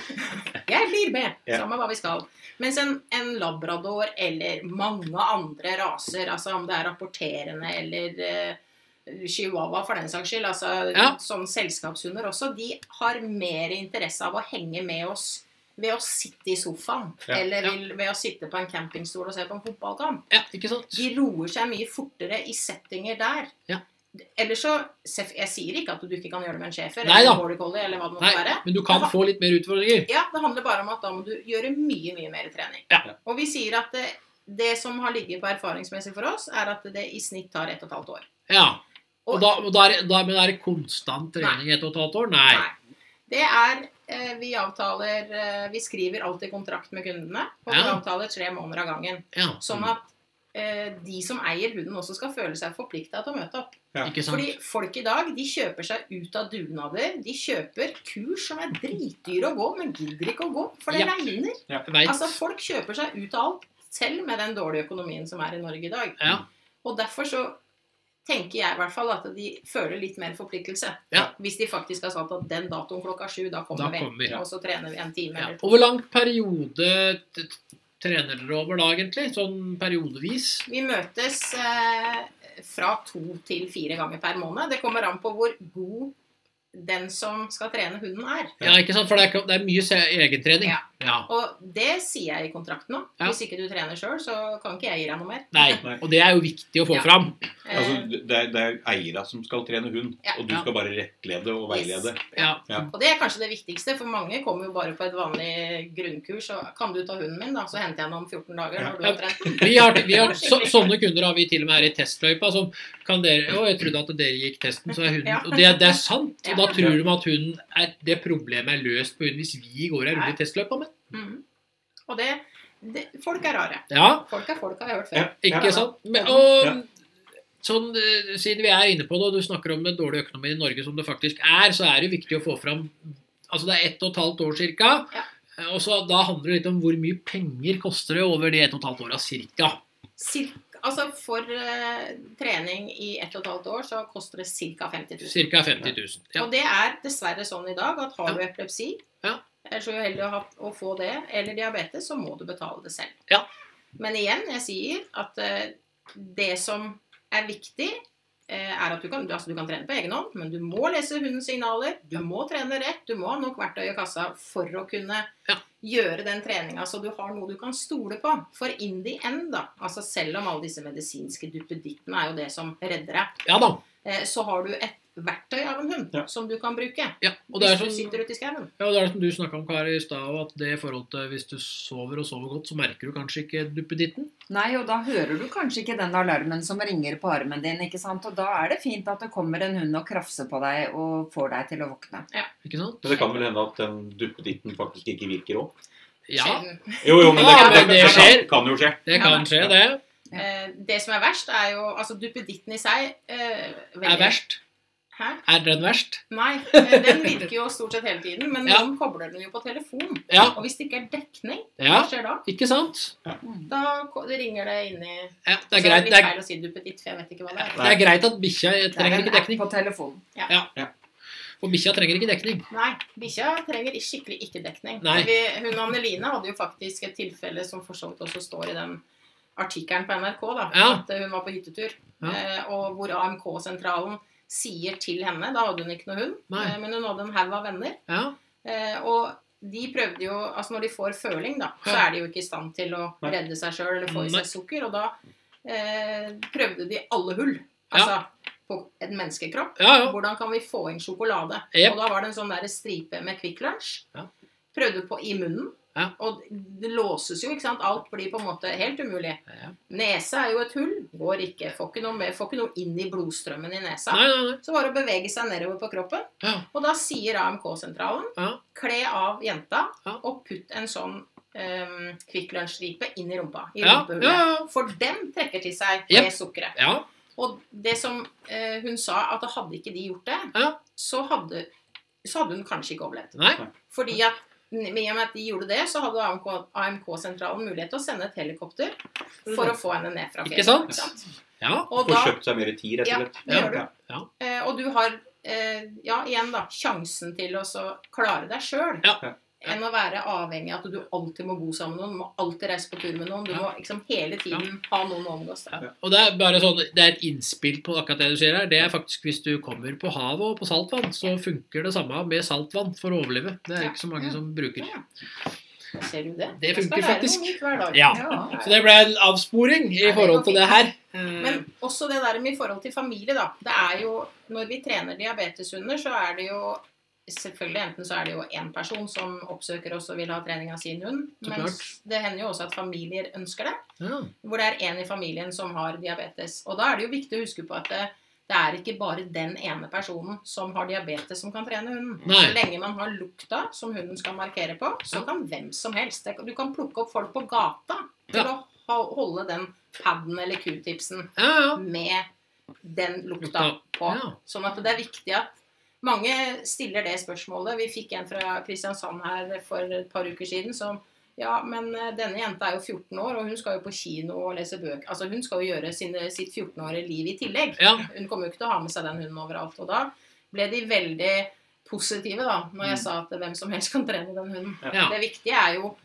[SPEAKER 3] Jeg blir med,
[SPEAKER 1] Ja.
[SPEAKER 3] samme hva vi skal. Mens en, en labrador eller mange andre raser, altså om det er rapporterende eller eh, chihuahua for den saks skyld, altså
[SPEAKER 2] Ja.
[SPEAKER 3] sånn selskapshunder også, de har mer interesse av å henge med oss ved å sitte i sofaen
[SPEAKER 1] Ja.
[SPEAKER 3] eller
[SPEAKER 2] Ja.
[SPEAKER 3] vil, ved å sitte på en campingstol og se på en fotballkamp.
[SPEAKER 2] ja, ikke sant?
[SPEAKER 3] De roer seg mye fortere i settinger der.
[SPEAKER 2] Ja.
[SPEAKER 3] Eller så, Jeg sier ikke at du ikke kan gjøre det med en schæfer
[SPEAKER 2] Nei
[SPEAKER 3] eller
[SPEAKER 2] da.
[SPEAKER 3] en border collie eller hva det måtte
[SPEAKER 2] Nei,
[SPEAKER 3] være.
[SPEAKER 2] men du kan få litt mer utfordringer.
[SPEAKER 3] Ja, det handler bare om at da må du gjøre mye, mye mer trening.
[SPEAKER 2] Ja.
[SPEAKER 3] Og vi sier at det, det som har ligget på erfaringsmessig for oss, er at det i snitt tar ett og et halvt år.
[SPEAKER 2] Ja. Og da, og da, er, det- da men er det konstant trening i ett og et halvt år? Nei.
[SPEAKER 3] Det er eh, Vi avtaler eh, Vi skriver alltid kontrakt med kundene, og vi
[SPEAKER 2] Ja. Mm.
[SPEAKER 3] avtaler tre måneder av gangen.
[SPEAKER 2] Ja,
[SPEAKER 3] Sånn at eh, de som eier hunden, også skal føle seg forplikta til å møte opp.
[SPEAKER 2] Mm. ikke sant?
[SPEAKER 3] Fordi folk i dag de kjøper seg ut av dugnader. De kjøper kurs som er dritdyre å gå, men gidder ikke å gå, for det
[SPEAKER 2] Ja.
[SPEAKER 3] regner.
[SPEAKER 2] Jeg vet.
[SPEAKER 3] Altså, folk kjøper seg ut av alt, selv med den dårlige økonomien som er i Norge i dag.
[SPEAKER 2] Ja.
[SPEAKER 3] Og derfor så tenker jeg i hvert fall at de føler litt mer forpliktelse.
[SPEAKER 2] Ja.
[SPEAKER 3] Hvis de faktisk har sagt at den datoen klokka sju, da
[SPEAKER 2] Da
[SPEAKER 3] kommer vi.
[SPEAKER 2] kommer vi.
[SPEAKER 3] Og så trener vi en time
[SPEAKER 2] Ja.
[SPEAKER 3] eller to.
[SPEAKER 2] Og hvor lang periode t- t- trener dere over da, egentlig? Sånn periodevis?
[SPEAKER 3] Vi møtes eh, fra to til fire ganger per måned. Det kommer an på hvor god den som skal trene hunden, er.
[SPEAKER 2] Ja, ikke sant? For det er, ikke- det er mye se- egentrening.
[SPEAKER 3] Ja.
[SPEAKER 2] Ja.
[SPEAKER 3] Og det sier jeg i kontrakten òg.
[SPEAKER 2] Ja.
[SPEAKER 3] Hvis ikke du trener sjøl, så kan ikke jeg gi deg noe mer.
[SPEAKER 2] Nei.
[SPEAKER 1] Nei.
[SPEAKER 2] Og det er jo viktig å få
[SPEAKER 3] Ja.
[SPEAKER 2] fram.
[SPEAKER 3] Eh,
[SPEAKER 1] Altså, det, er, det er eierne som skal trene hund,
[SPEAKER 3] Ja.
[SPEAKER 1] og du
[SPEAKER 2] Ja.
[SPEAKER 1] skal bare rettlede og veilede.
[SPEAKER 2] Ja.
[SPEAKER 1] Ja.
[SPEAKER 3] Og det er kanskje det viktigste, for mange kommer jo bare på et vanlig grunnkurs. Og kan du ta hunden min, da, så henter jeg den om 14 dager når du har trent.
[SPEAKER 2] Vi har, vi har så, sånne kunder har vi til og med her i testløypa som kan dere Å, jeg trodde at dere gikk testen, så er hunden
[SPEAKER 3] Ja.
[SPEAKER 2] Og det, det er sant. Og da
[SPEAKER 3] Ja.
[SPEAKER 2] tror de at hunden er, det problemet er løst på hunden hvis vi går en runde i testløypa med.
[SPEAKER 3] Mhm. Og det, det Folk er rare.
[SPEAKER 2] Ja,
[SPEAKER 3] Folk er folk, har jeg hørt
[SPEAKER 1] Ja,
[SPEAKER 3] før.
[SPEAKER 2] ikke
[SPEAKER 1] ja.
[SPEAKER 2] sant? Men,
[SPEAKER 1] Ja.
[SPEAKER 2] og sånn, eh, siden vi er inne på det, og du snakker om en dårlig økonomi i Norge som det faktisk er, så er det viktig å få fram Altså det er ett og et halvt år cirka.
[SPEAKER 3] Ja.
[SPEAKER 2] eh, Og så da handler det litt om hvor mye penger koster det over de ett og et halvt åra cirka.
[SPEAKER 3] Cirka, altså for eh, trening i ett og et halvt år så koster det ca. 50 000.
[SPEAKER 2] Cirka 50 000. Ja.
[SPEAKER 3] Og det er dessverre sånn i dag at har
[SPEAKER 2] Ja.
[SPEAKER 3] du epilepsi,
[SPEAKER 2] Ja.
[SPEAKER 3] er så uheldig å, ha, å få det, eller diabetes, så må du betale det selv.
[SPEAKER 2] Ja.
[SPEAKER 3] Men igjen, jeg sier at eh, det som er viktig, eh, er at du kan, du- altså du kan trene på egen hånd, men du må lese hundens signaler, du må trene rett, du må ha nok verktøy i kassa for å kunne
[SPEAKER 2] Ja.
[SPEAKER 3] gjøre den treninga, så du har noe du kan stole på. For in the end, da, altså selv om alle disse medisinske duppedittene er jo det som redder deg,
[SPEAKER 2] ja da.
[SPEAKER 3] eh, så har du et verktøy av en hund
[SPEAKER 1] Ja.
[SPEAKER 3] som du kan bruke.
[SPEAKER 2] Ja, og det er
[SPEAKER 3] hvis du
[SPEAKER 2] sånn-
[SPEAKER 3] sitter ute i skauen.
[SPEAKER 2] Ja, og det er det som du snakka om Kari, i stad, og at det i forhold til hvis du sover og sover godt, så merker du kanskje ikke duppeditten.
[SPEAKER 4] Nei, og da hører du kanskje ikke den alarmen som ringer på armen din, ikke sant. Og da er det fint at det kommer en hund og krafser på deg og får deg til å våkne.
[SPEAKER 2] Ikke sant?
[SPEAKER 1] Men det kan vel hende at den duppeditten faktisk ikke virker òg?
[SPEAKER 2] Ja,
[SPEAKER 3] Sjelden.
[SPEAKER 1] Jo, jo, men det,
[SPEAKER 2] Ja,
[SPEAKER 1] det,
[SPEAKER 2] men det
[SPEAKER 1] kan,
[SPEAKER 2] skjer.
[SPEAKER 1] kan jo skje.
[SPEAKER 2] det kan skje, det.
[SPEAKER 3] Eh, det som er verst, er jo Altså, duppeditten i seg eh, veldig-
[SPEAKER 2] Er verst.
[SPEAKER 3] Hæ?
[SPEAKER 2] Er den verst?
[SPEAKER 3] Nei, eh, den virker jo stort sett hele tiden, men
[SPEAKER 2] Ja.
[SPEAKER 3] noen kobler den jo på telefon.
[SPEAKER 2] Ja.
[SPEAKER 3] Og hvis det ikke er dekning,
[SPEAKER 2] Ja,
[SPEAKER 3] hva skjer da?
[SPEAKER 2] ikke sant?
[SPEAKER 3] Da ko- det ringer det inn i
[SPEAKER 2] Ja,
[SPEAKER 3] Så
[SPEAKER 2] det er greit.
[SPEAKER 3] litt
[SPEAKER 2] Det er,
[SPEAKER 3] feil å si duppeditt, for jeg vet ikke hva det er.
[SPEAKER 2] det er greit at bikkja
[SPEAKER 4] Det er
[SPEAKER 2] trenger
[SPEAKER 4] en
[SPEAKER 2] ikke
[SPEAKER 4] app
[SPEAKER 2] dekning.
[SPEAKER 4] på telefonen.
[SPEAKER 2] Og bikkja trenger ikke dekning.
[SPEAKER 3] Nei, bikkja trenger skikkelig ikke-dekning.
[SPEAKER 2] Nei.
[SPEAKER 3] Vi, hun Anneline hadde jo faktisk et tilfelle som for så vidt også står i den artikkelen på NRK, da,
[SPEAKER 2] Ja.
[SPEAKER 3] at hun var på hyttetur,
[SPEAKER 2] Ja.
[SPEAKER 3] eh, og hvor AMK-sentralen sier til henne Da hadde hun ikke noe hund,
[SPEAKER 2] Nei.
[SPEAKER 3] eh, men hun hadde en haug av venner.
[SPEAKER 2] Ja,
[SPEAKER 3] Eh, og de prøvde jo Altså når de får føling, da, så
[SPEAKER 2] Ja.
[SPEAKER 3] er de jo ikke i stand til å
[SPEAKER 1] Nei.
[SPEAKER 3] redde seg sjøl eller få i
[SPEAKER 2] Nei.
[SPEAKER 3] seg sukker, og da eh, prøvde de alle hull. Altså på en menneskekropp.
[SPEAKER 2] ja. ja.
[SPEAKER 3] Hvordan kan vi få inn sjokolade?
[SPEAKER 2] Jep.
[SPEAKER 3] Og da var det en sånn der stripe med Kvikk Lunsj.
[SPEAKER 2] Ja.
[SPEAKER 3] Prøvde på i munnen.
[SPEAKER 2] Ja.
[SPEAKER 3] Og det låses jo, ikke sant. Alt blir på en måte helt umulig.
[SPEAKER 2] Ja.
[SPEAKER 3] Nese er jo et hull. Går ikke. Får ikke noe, med, får ikke noe inn i blodstrømmen i nesa.
[SPEAKER 2] Nei, nei, nei.
[SPEAKER 3] Så var det å bevege seg nedover på kroppen.
[SPEAKER 2] Ja.
[SPEAKER 3] Og da sier AMK-sentralen
[SPEAKER 2] Ja.
[SPEAKER 3] kle av jenta
[SPEAKER 2] Ja.
[SPEAKER 3] og putt en sånn um, Kvikk Lunsj-stripe inn i rumpa. I
[SPEAKER 2] Ja,
[SPEAKER 3] rumpehullet.
[SPEAKER 2] ja,
[SPEAKER 3] For den trekker til seg
[SPEAKER 2] Jep.
[SPEAKER 3] det sukkeret.
[SPEAKER 2] ja. ja.
[SPEAKER 3] Og det som eh, hun sa, at hadde ikke de gjort det,
[SPEAKER 2] Ja.
[SPEAKER 3] så, hadde, så hadde hun kanskje ikke overlevd.
[SPEAKER 2] Nei.
[SPEAKER 3] Fordi at med i og med at de gjorde det, så hadde AMK AMK-sentralen mulighet til å sende et helikopter for å få henne ned fra
[SPEAKER 2] Mm. Ikke sant?
[SPEAKER 3] Ikke sant?
[SPEAKER 2] Ja.
[SPEAKER 3] Og
[SPEAKER 1] Får
[SPEAKER 3] da,
[SPEAKER 1] kjøpt seg mer tid, rett
[SPEAKER 3] Ja,
[SPEAKER 1] og slett.
[SPEAKER 3] det gjør du.
[SPEAKER 1] Ja.
[SPEAKER 3] eh, og du har eh, ja, igjen da, sjansen til å så klare deg sjøl.
[SPEAKER 2] Ja.
[SPEAKER 3] Enn å være avhengig av at du alltid må bo sammen med noen, du må alltid reise på tur med noen. Du må liksom hele tiden ha noen å omgås. Da.
[SPEAKER 2] Ja. Og det er bare sånn, det er et innspill på akkurat det du sier her. Det er faktisk hvis du kommer på havet og på saltvann, så funker det samme med saltvann for å overleve. Det er
[SPEAKER 3] Ja.
[SPEAKER 2] ikke så mange som bruker.
[SPEAKER 3] Ser du det?
[SPEAKER 2] Det
[SPEAKER 3] Jeg skal
[SPEAKER 2] funker
[SPEAKER 3] lære noe
[SPEAKER 2] faktisk.
[SPEAKER 3] nytt hver dag.
[SPEAKER 2] Ja.
[SPEAKER 4] Ja.
[SPEAKER 2] Så det ble en avsporing i
[SPEAKER 3] det
[SPEAKER 2] forhold
[SPEAKER 3] går
[SPEAKER 2] til det her. Eh,
[SPEAKER 3] Men også det der med i forhold til familie, da. Det er jo Når vi trener diabeteshunder, så er det jo Selvfølgelig enten så er det jo én person som oppsøker oss og vil ha trening av sin hund.
[SPEAKER 2] Så
[SPEAKER 3] Men det hender jo også at familier ønsker det.
[SPEAKER 2] ja.
[SPEAKER 3] Hvor det er én i familien som har diabetes. Og da er det jo viktig å huske på at det, det er ikke bare den ene personen som har diabetes, som kan trene hunden.
[SPEAKER 2] Nei.
[SPEAKER 3] Så lenge man har lukta som hunden skal markere på, så kan hvem som helst det- Du kan plukke opp folk på gata til
[SPEAKER 2] Ja.
[SPEAKER 3] å ha- holde den paden eller q-tipsen
[SPEAKER 2] ja, ja.
[SPEAKER 3] med den lukta
[SPEAKER 2] Lukta,
[SPEAKER 3] på.
[SPEAKER 2] ja.
[SPEAKER 3] Sånn at det er viktig at mange stiller det spørsmålet. Vi fikk en fra Kristiansand her for et par uker siden som ja, men eh, denne jenta er jo 14 år, og hun skal jo på kino og lese bøker. Altså, hun skal jo gjøre sine, sitt 14-årige liv i tillegg.
[SPEAKER 2] Ja.
[SPEAKER 3] Hun kommer jo ikke til å ha med seg den hunden overalt. Og da ble de veldig positive, da, når jeg sa at hvem som helst kan trene den hunden.
[SPEAKER 2] Ja.
[SPEAKER 3] Det viktige er jo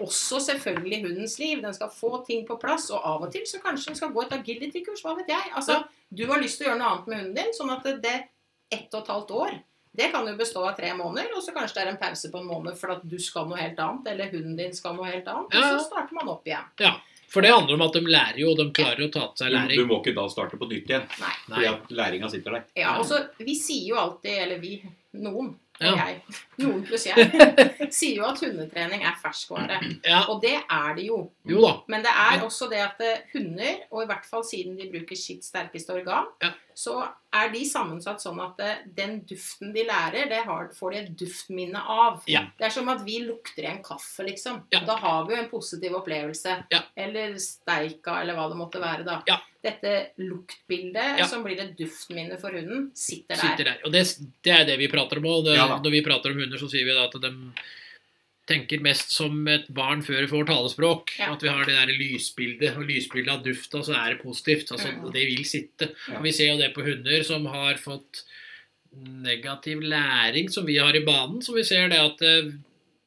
[SPEAKER 3] også selvfølgelig hundens liv. Den skal få ting på plass, og av og til så kanskje den skal gå et agility-kurs, hva vet jeg. Altså, du har lyst til å gjøre noe annet med hunden din, sånn at det ett og et halvt år Det kan jo bestå av tre måneder, og så kanskje det er en pause på en måned for at du skal noe helt annet, eller hunden din skal noe helt annet,
[SPEAKER 2] Ja, ja.
[SPEAKER 3] og så starter man opp igjen.
[SPEAKER 2] For det handler om at de lærer jo, og de klarer å ta til seg
[SPEAKER 1] Du, du
[SPEAKER 2] læring.
[SPEAKER 1] må ikke da starte på nytt igjen,
[SPEAKER 3] Nei.
[SPEAKER 2] Nei.
[SPEAKER 1] fordi at læringa sitter der.
[SPEAKER 3] Ja, og så vi sier jo alltid, eller vi, noen, og
[SPEAKER 2] Ja.
[SPEAKER 3] jeg, noen pluss jeg, sier jo at hundetrening er ferskvare.
[SPEAKER 2] Ja,
[SPEAKER 3] Og det er det jo.
[SPEAKER 2] jo da.
[SPEAKER 3] Men det er også det at eh, hunder, og i hvert fall siden de bruker sitt sterkeste organ,
[SPEAKER 2] Ja.
[SPEAKER 3] så er de sammensatt sånn at eh, den duften de lærer, det har, får de et duftminne av.
[SPEAKER 2] Ja.
[SPEAKER 3] Det er som at vi lukter en kaffe, liksom.
[SPEAKER 2] Ja.
[SPEAKER 3] Da har vi jo en positiv opplevelse.
[SPEAKER 2] Ja.
[SPEAKER 3] Eller steika, eller hva det måtte være, da.
[SPEAKER 2] Ja.
[SPEAKER 3] Dette luktbildet
[SPEAKER 2] Ja.
[SPEAKER 3] som blir et duftminne for hunden, sitter der.
[SPEAKER 2] Sitter der. Og det, det er det vi prater om. Og det,
[SPEAKER 1] Ja da.
[SPEAKER 2] når vi prater om hunder, så sier vi da at de tenker mest som et barn før de får talespråk.
[SPEAKER 3] Ja.
[SPEAKER 2] At vi har det der lysbildet, og lysbildet av dufta, så er det positivt. Altså,
[SPEAKER 3] Mm.
[SPEAKER 2] Det vil sitte.
[SPEAKER 1] Ja.
[SPEAKER 2] Og vi ser jo det på hunder som har fått negativ læring, som vi har i banen, så vi ser det at eh,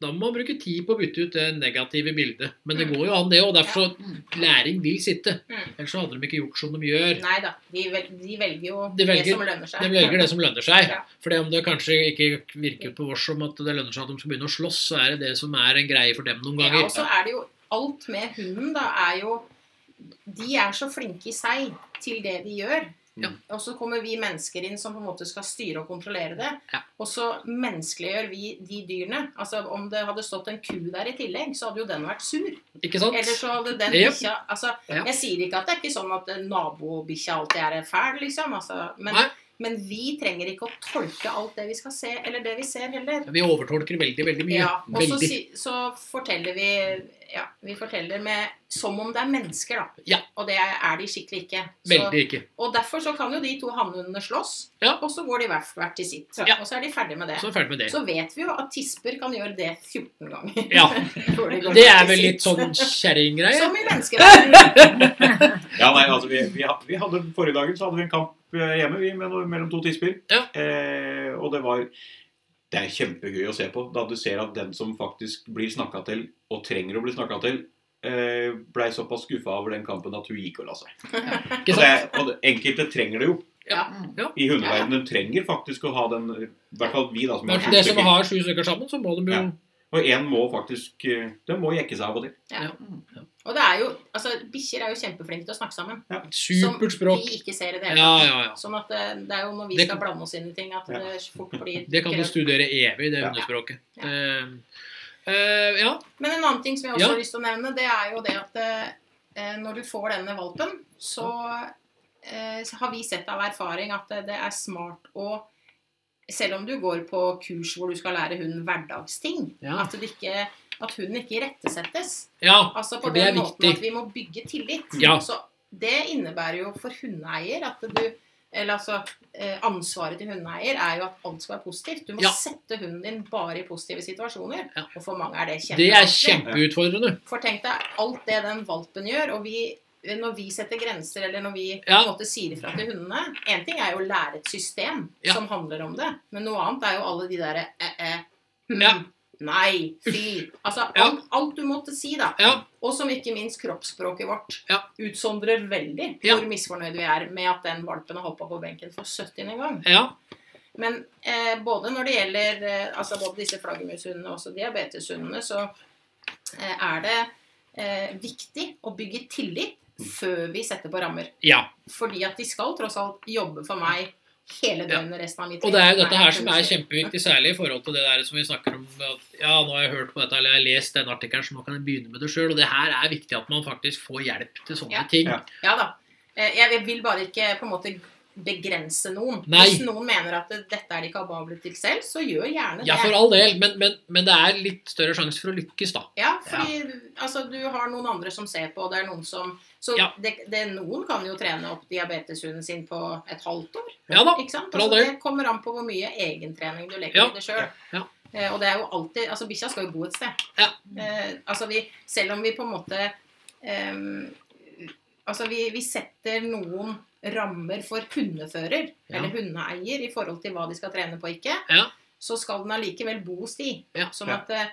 [SPEAKER 2] da må man bruke tid på å bytte ut det negative bildet. Men det
[SPEAKER 3] Mm.
[SPEAKER 2] går jo an, det òg. Derfor så læring vil sitte.
[SPEAKER 3] Mm.
[SPEAKER 2] Ellers så hadde de ikke gjort som de gjør.
[SPEAKER 3] Nei da, de, vel, de velger jo
[SPEAKER 2] De velger-
[SPEAKER 3] det som lønner seg.
[SPEAKER 2] De velger det som lønner seg.
[SPEAKER 3] Ja.
[SPEAKER 2] For om det kanskje ikke virker på oss som at det lønner seg at de skal begynne å slåss, så er det det som er en greie for dem noen
[SPEAKER 3] Ja, altså, og så
[SPEAKER 2] ganger.
[SPEAKER 3] er det jo alt med hunden, da, er jo De er så flinke i seg til det de gjør.
[SPEAKER 1] Ja.
[SPEAKER 3] Og så kommer vi mennesker inn som på en måte skal styre og kontrollere det.
[SPEAKER 2] Ja.
[SPEAKER 3] Og så menneskeliggjør vi de dyrene. Altså Om det hadde stått en ku der i tillegg, så hadde jo den vært sur.
[SPEAKER 2] Ikke sant?
[SPEAKER 3] Eller så hadde den
[SPEAKER 2] Jep.
[SPEAKER 3] bikkja altså,
[SPEAKER 2] Ja.
[SPEAKER 3] Jeg sier ikke at det er ikke sånn at eh, nabobikkja alltid er fæl, liksom. Altså, men,
[SPEAKER 2] Nei,
[SPEAKER 3] men vi trenger ikke å tolke alt det vi skal se, eller det vi ser, heller.
[SPEAKER 2] vi overtolker veldig, veldig mye.
[SPEAKER 3] Ja, og så,
[SPEAKER 2] veldig.
[SPEAKER 3] si, så forteller vi ja, vi forteller med, som om det er mennesker, da.
[SPEAKER 2] Ja.
[SPEAKER 3] Og det er de skikkelig ikke. Så,
[SPEAKER 2] veldig ikke.
[SPEAKER 3] og derfor så kan jo de to hannhundene slåss,
[SPEAKER 2] Ja.
[SPEAKER 3] og så går de hvert hvert til sitt.
[SPEAKER 2] Ja.
[SPEAKER 3] Og så er de ferdig med det.
[SPEAKER 2] Så er vi ferdig med det.
[SPEAKER 3] Så vet vi jo at tisper kan gjøre det 14 ganger.
[SPEAKER 2] Ja.
[SPEAKER 3] før de går
[SPEAKER 2] Det
[SPEAKER 3] til
[SPEAKER 2] er vel
[SPEAKER 3] sitt.
[SPEAKER 2] litt sånn kjerringgreie.
[SPEAKER 3] Som i menneskeverdenen.
[SPEAKER 1] Ja, nei, altså, vi, vi, ha- vi hadde, Forrige dagen så hadde vi en kamp eh, hjemme vi, med, noe- mellom to tisper.
[SPEAKER 2] Ja.
[SPEAKER 1] Eh, og det var Det er kjempegøy å se på. Da du ser at den som faktisk blir snakka til, og trenger å bli snakka til, eh, blei såpass skuffa over den kampen at hun gikk og la seg. Og, det,
[SPEAKER 2] Ikke sant?
[SPEAKER 1] og det, enkelte trenger det jo.
[SPEAKER 2] Ja. Ja.
[SPEAKER 1] I hundeverdenen de trenger faktisk å ha den I hvert fall vi, da. Som
[SPEAKER 2] Men Det som har sju stykker sammen, så må de jo
[SPEAKER 1] Ja. Og én må faktisk eh, Den må jekke seg av og til.
[SPEAKER 3] Og det er jo Altså, bikkjer er jo kjempeflinke til å snakke sammen.
[SPEAKER 2] supert
[SPEAKER 3] Som
[SPEAKER 2] språk.
[SPEAKER 3] vi ikke ser i det hele
[SPEAKER 2] Ja, ja, ja.
[SPEAKER 3] Sånn at det, det er jo når vi
[SPEAKER 2] Det-
[SPEAKER 3] skal blande oss inn i ting, at
[SPEAKER 1] Ja.
[SPEAKER 3] det fort blir
[SPEAKER 2] Det kan du studere evig, det
[SPEAKER 1] Ja.
[SPEAKER 2] hundespråket.
[SPEAKER 3] Ja.
[SPEAKER 2] Eh, eh, ja.
[SPEAKER 3] Men en annen ting som jeg også
[SPEAKER 2] Ja.
[SPEAKER 3] har lyst til å nevne, det er jo det at eh, når du får denne valpen, så eh, så har vi sett av erfaring at det, det er smart å Selv om du går på kurs hvor du skal lære hunden hverdagsting,
[SPEAKER 2] Ja.
[SPEAKER 3] at, det ikke, at hunden ikke irettesettes.
[SPEAKER 2] ja.
[SPEAKER 3] Altså på
[SPEAKER 2] For det
[SPEAKER 3] den
[SPEAKER 2] er
[SPEAKER 3] måten
[SPEAKER 2] viktig.
[SPEAKER 3] at vi må bygge tillit.
[SPEAKER 2] Ja.
[SPEAKER 3] Så det innebærer jo for hundeeier at du Eller altså eh, Ansvaret til hundeeier er jo at alt skal være positivt. Du må
[SPEAKER 2] Ja.
[SPEAKER 3] sette hunden din bare i positive situasjoner.
[SPEAKER 2] Ja.
[SPEAKER 3] Og for mange er det
[SPEAKER 2] Det er
[SPEAKER 3] kjempevanskelig.
[SPEAKER 2] kjempeutfordrende.
[SPEAKER 3] For tenk deg alt det den valpen gjør. og vi når vi setter grenser, eller når vi på
[SPEAKER 2] Ja.
[SPEAKER 3] en måte sier ifra til hundene En ting er jo å lære et system
[SPEAKER 2] Ja.
[SPEAKER 3] som handler om det, men noe annet er jo alle de derre eh, eh, hm,
[SPEAKER 2] Ja.
[SPEAKER 3] Nei, fy Altså
[SPEAKER 2] Ja.
[SPEAKER 3] alt, alt du måtte si, da.
[SPEAKER 2] Ja.
[SPEAKER 3] Og som ikke minst kroppsspråket vårt
[SPEAKER 2] Ja.
[SPEAKER 3] utsondrer veldig
[SPEAKER 2] Ja.
[SPEAKER 3] hvor misfornøyd vi er med at den valpen har hoppa på benken for 70. gang.
[SPEAKER 2] ja.
[SPEAKER 3] Men eh, både når det gjelder eh, altså både disse flaggermushundene og også diabeteshundene, så eh, er det eh, viktig å bygge tillit før vi setter på rammer.
[SPEAKER 2] ja.
[SPEAKER 3] Fordi at de skal tross alt jobbe for meg hele døgnet resten av mitt
[SPEAKER 2] Og det er jo dette
[SPEAKER 3] Nei,
[SPEAKER 2] her som er
[SPEAKER 3] unnskyld.
[SPEAKER 2] kjempeviktig, særlig i forhold til det der som vi snakker om at, Ja, nå har jeg hørt på dette, eller jeg har lest den artikkelen, så nå kan jeg begynne med det sjøl. Og det her er viktig at man faktisk får hjelp til sånne
[SPEAKER 3] Ja.
[SPEAKER 2] ting.
[SPEAKER 1] Ja.
[SPEAKER 3] Ja da. Eh, Jeg vil bare ikke på en måte begrense noen.
[SPEAKER 2] Nei.
[SPEAKER 3] Hvis noen mener at det- dette er de kapable til selv, så gjør gjerne det.
[SPEAKER 2] Ja, for all del, men, men, men det er litt større sjanse for å lykkes, da.
[SPEAKER 3] Ja, fordi Altså, du har noen andre som ser på, og det er noen som Så
[SPEAKER 2] Ja.
[SPEAKER 3] det, det, noen kan jo trene opp diabeteshunden sin på et halvt år.
[SPEAKER 2] Ja da.
[SPEAKER 3] Ikke sant?
[SPEAKER 2] for all
[SPEAKER 3] Altså,
[SPEAKER 2] del.
[SPEAKER 3] det kommer an på hvor mye egentrening du legger
[SPEAKER 2] Ja.
[SPEAKER 3] i det sjøl.
[SPEAKER 2] Ja.
[SPEAKER 3] Og det er jo alltid Altså, bikkja skal jo bo et sted.
[SPEAKER 2] Ja.
[SPEAKER 3] Eh, altså, vi Selv om vi på en måte ehm, Altså, vi, vi setter noen rammer for hundefører,
[SPEAKER 2] Ja.
[SPEAKER 3] eller hundeeier, i forhold til hva de skal trene på og ikke,
[SPEAKER 2] Ja.
[SPEAKER 3] så skal den allikevel bo hos de.
[SPEAKER 2] Ja.
[SPEAKER 3] Sånn at eh,